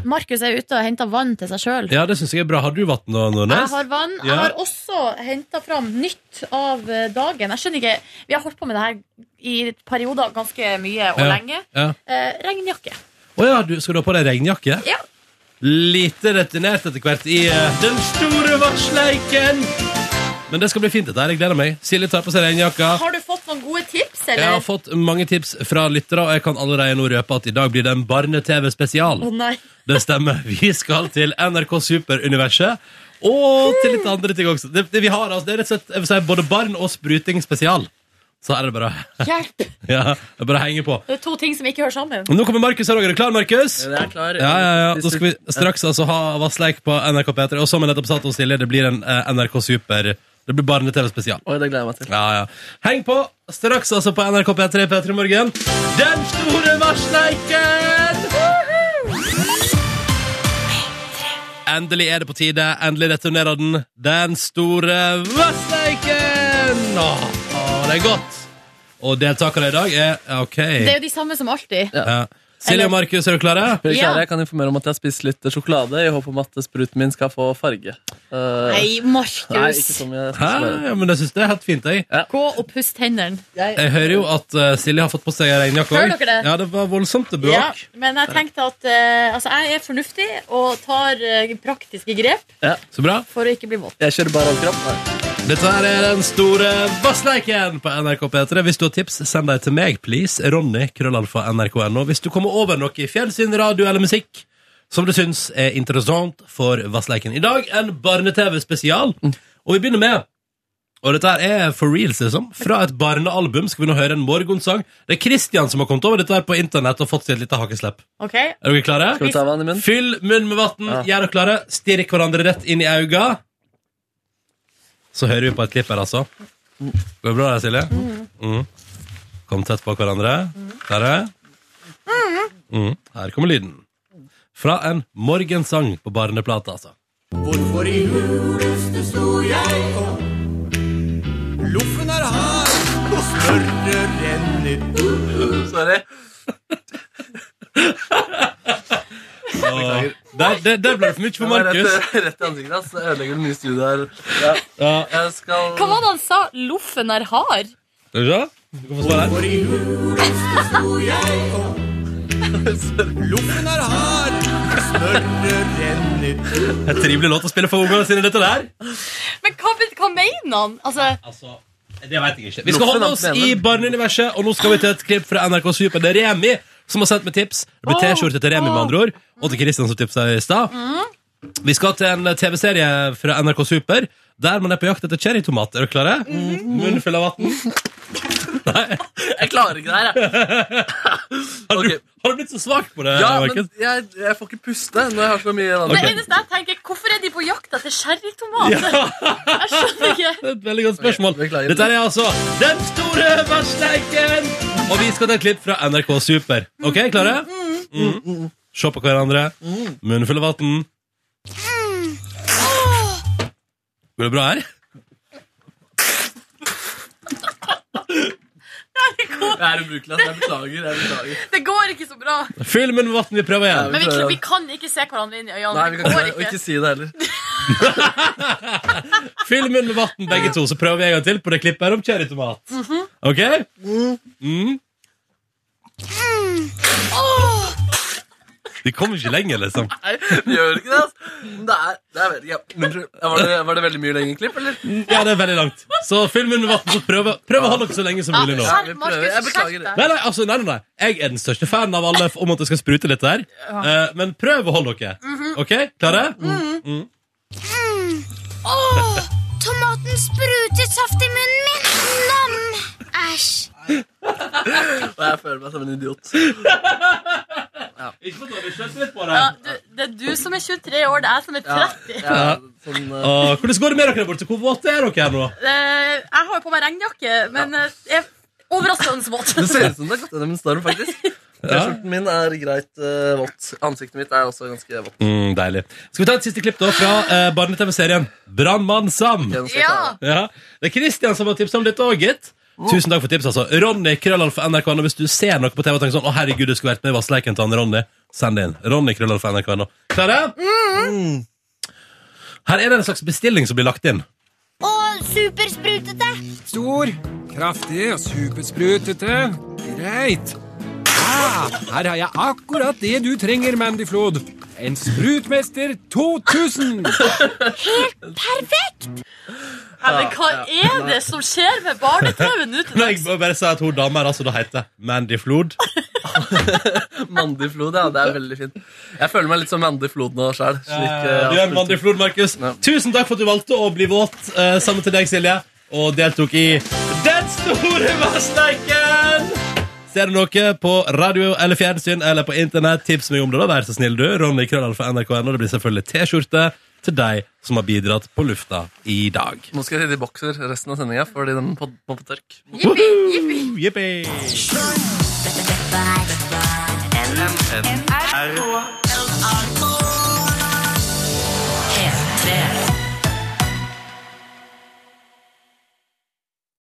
Speaker 5: Markus er ute og henter vann til seg sjøl.
Speaker 3: Ja, det syns jeg er bra. Har du vann nå,
Speaker 5: Jeg
Speaker 3: Nordnes?
Speaker 5: har vann.
Speaker 3: Ja.
Speaker 5: Jeg har også henta fram nytt av eh, dagen. Jeg skjønner ikke, Vi har holdt på med det her i perioder ganske mye og
Speaker 3: Ja.
Speaker 5: lenge.
Speaker 3: Ja.
Speaker 5: Eh, regnjakke.
Speaker 3: Å ja, du, skal du ha på deg regnjakke?
Speaker 5: Ja.
Speaker 3: Lite retinert etter hvert i eh, Den store vassleiken! Men det skal bli fint, dette her. Jeg gleder meg. Silje tar på seg regnjakka.
Speaker 5: Har du fått noen gode tips,
Speaker 3: Jeg
Speaker 5: eller?
Speaker 3: har fått mange tips fra lyttere, og jeg kan allerede nå røpe at i dag blir det en barne-TV-spesial.
Speaker 5: Å nei.
Speaker 3: Det stemmer. [LAUGHS] Vi skal til NRK Superuniverset. Og til litt andre ting også. Det, det vi har, altså, det er rett og slett jeg vil si, både barn og spruting spesial. Så her er det bare,
Speaker 5: Hjelp! Det
Speaker 3: [LAUGHS] ja, det er bare å henge på.
Speaker 5: er to ting som ikke hører sammen.
Speaker 3: Nå kommer Markus her òg. Er du klar, Markus?
Speaker 4: Det er klar.
Speaker 3: Ja, ja, ja. Da skal vi straks altså ha vassleik på NRK P3. Og som jeg nettopp sa til Silje, det blir en eh, NRK Super Det blir barne-TV-spesial.
Speaker 4: Oi, det gleder jeg meg til.
Speaker 3: Ja, ja. Heng på straks altså på NRK P3 P3 Morgen. Den store varsleiken! Endelig er det på tide. Endelig returnerer den. Den store varsleiken! Åh, åh, det er godt. Og deltakere i dag er ja, OK.
Speaker 5: Det er jo de samme som alltid.
Speaker 3: Ja. Silje og Markus, er dere klare?
Speaker 4: Fredrik
Speaker 5: Ja.
Speaker 4: Kjære, jeg kan informere om at jeg har spist litt sjokolade i håp om at spruten min skal få farge. Eh,
Speaker 5: Nei,
Speaker 4: nei,
Speaker 5: Markus.
Speaker 4: ikke sånn. som jeg
Speaker 3: Hæ?
Speaker 4: spiser bare.
Speaker 3: Ja, men jeg syns det er helt fint, jeg.
Speaker 5: Gå og pust hendene.
Speaker 3: Jeg hører jo at eh, Silje har fått på seg regnjakke
Speaker 5: Hører
Speaker 3: også.
Speaker 5: dere det?
Speaker 3: Ja, det var voldsomt bråk.
Speaker 5: Ja, men jeg tenkte at eh, altså, jeg er fornuftig og tar eh, praktiske grep
Speaker 3: Så bra.
Speaker 5: for å ikke bli våt.
Speaker 4: Jeg kjører bare overkropp.
Speaker 3: Dette her er den store vassleiken på NRK P3. Hvis du har tips, send dem til meg, please. Ronny, krøllalfa, nrk.no. Hvis du kommer over noe i fjernsyn, radio eller musikk som du syns er interessant for vassleiken. I dag en barne-TV-spesial, og vi begynner med og dette her er for real, ser det som. Fra et barnealbum skal vi nå høre en morgensang. Det er Christian som har kommet over dette her på internett og fått seg et lite hakeslepp.
Speaker 5: Ok?
Speaker 3: Er dere klare?
Speaker 4: Skal vi ta vann i munnen?
Speaker 3: Fyll munn med vann,
Speaker 4: Ja.
Speaker 3: gjør dere klare, stirr hverandre rett inn i øynene. Så hører vi på et klipp her, altså. Går det bra der, Silje? Mm. Kom tett på hverandre. Der er mm. Her kommer lyden. Fra en morgensang på barneplata, altså.
Speaker 4: Sorry.
Speaker 3: Og Der, der, der ble det for mye for
Speaker 4: Det var
Speaker 3: Markus.
Speaker 4: Rett, [LAUGHS] rett i ansiktet hans. Jeg ødelegger det nye studioet her. Ja.
Speaker 3: Ja.
Speaker 4: Jeg skal
Speaker 5: Hva var det han sa? Loffen er hard.
Speaker 3: Skal vi se? Du kan få stå der. En trivelig låt å spille for ungene sine, dette der.
Speaker 5: Men hva, hva mener han? Altså,
Speaker 3: Altså, det vet jeg ikke. Vi skal holde oss i barneuniverset, og nå skal vi til et klipp fra NRK Super. Det er Remi som har sendt meg tips. Det blir T-skjorte til Remi, med andre ord. Og til Kristian som tipsa i stad. Vi skal til en TV-serie fra NRK Super der man er på jakt etter cherrytomat. Er dere klare? Munn full av vann.
Speaker 4: Jeg klarer ikke det her,
Speaker 3: [LAUGHS]
Speaker 4: jeg.
Speaker 3: Har, du-
Speaker 4: Ok.
Speaker 3: har du blitt så svak på det?
Speaker 4: Ja, men
Speaker 3: Markus?
Speaker 4: jeg, jeg får ikke puste når jeg har så mye vann.
Speaker 3: Ok.
Speaker 5: det eneste jeg tenker, Hvorfor er de på jakt etter sherrytomat? Jeg skjønner ikke.
Speaker 3: Det er et veldig godt spørsmål.
Speaker 4: Ok, beklager.
Speaker 3: Dette er altså Den store versteiken! Og vi skal til et klipp fra NRK Super. Ok, klare? Mm. Se på hverandre. Munnen full av vann. Går det bra her?
Speaker 4: Jeg er ubrukelig. ass. Jeg beklager. jeg beklager
Speaker 5: Det går ikke så bra.
Speaker 3: Fyll munnen med vann. Vi prøver igjen.
Speaker 5: Men vi, vi kan ikke se hverandre inn i øynene.
Speaker 4: Nei, vi kan
Speaker 5: Det
Speaker 4: ikke,
Speaker 5: går
Speaker 4: og ikke
Speaker 5: ikke.
Speaker 4: si det heller.
Speaker 3: Fyll munnen med vann, begge to. Så prøver vi en gang til på det klippet her om cherrytomat. Ok? Mm. De kommer ikke liksom. lenger, liksom.
Speaker 4: Nei, vi gjør ikke det. ass. Det er, det er veldig, ja. Unnskyld. Var, det, var det veldig mye lenge klipp, eller?
Speaker 3: Ja, det er veldig langt. Så fyll munnen med vann, så prøv, prøv å holde dere så lenge som
Speaker 5: Ja,
Speaker 3: mulig nå.
Speaker 4: vi
Speaker 5: skjerp,
Speaker 4: prøver. Jeg
Speaker 5: Markus.
Speaker 4: beklager
Speaker 5: Skjerp
Speaker 4: det.
Speaker 5: deg.
Speaker 3: Nei, nei, altså, nei, nei, nei. Jeg er den største fanen av alle om at det skal sprute litt der. Eh, men prøv å holde dere. Ok, Klare?
Speaker 10: Åh, tomaten spruter saft i munnen min. Nam! Æsj.
Speaker 4: Og jeg føler meg som en idiot.
Speaker 3: Ikke for at du skjønte litt på
Speaker 5: Ja, du, det er du som er 23 år, det er jeg som er 30.
Speaker 4: Ja, sånn, eh,
Speaker 3: Åh, Ah, hvordan går det med dere der borte? Hvor våte er dere her nå?
Speaker 5: Eh, Jeg har jo på meg regnjakke, men eh, jeg er overraskende våt.
Speaker 4: det ser ut som det har gått gjennom en storm, faktisk. T-skjorten min er greit eh, vått. Ansiktet mitt er også ganske vått.
Speaker 3: Mm, deilig. Skal vi ta et siste klipp da fra eh, barne-TV-serien Brannmann Sam?
Speaker 4: Ok, nå skal jeg
Speaker 5: Ja,
Speaker 4: ta det.
Speaker 3: Ja. Det er Kristian som har tipset om dette òg, gitt. Tusen takk for tips, altså. Ronny Krøllalf NRK nå. Hvis du ser noe på TV og tenker sånn Å, herregud, det skulle vært med i Vassleiken til han Ronny, send det inn. Ronny Krøllalf NRK nå. Klare? Mm. Her er det en slags bestilling som blir lagt inn.
Speaker 10: Og supersprutete.
Speaker 9: Stor, kraftig og supersprutete. Greit. Ah, her har jeg akkurat det du trenger, Mandy Flod. En sprutmester 2000!
Speaker 5: Ja, men hva er det som skjer med barne-TV nå til
Speaker 3: Nei, jeg
Speaker 5: dags?
Speaker 3: må bare si at hun dama her altså, da heter Mandy Flod.
Speaker 4: Mandy Flod, ja. Det er veldig fint. Jeg føler meg litt som Mandy Flod nå eh, sjøl.
Speaker 3: Du er en Mandy Flod, Markus.
Speaker 4: Ja.
Speaker 3: Tusen takk for at du valgte å bli våt eh, sammen til deg, Silje, og deltok i Den store vassleiken! Ser du noe på radio eller fjernsyn eller på internett, tips meg om det. da, Vær så snill, du. Ronny Krøllalf fra nrk.no. Det blir selvfølgelig T-skjorte til deg som har bidratt på lufta i dag.
Speaker 4: Nå skal jeg rydde i bokser resten av sendinga, fordi den på- må på tørk.
Speaker 5: Jippi, jippi.
Speaker 3: Yippee!
Speaker 10: Dette er NRK. NRK.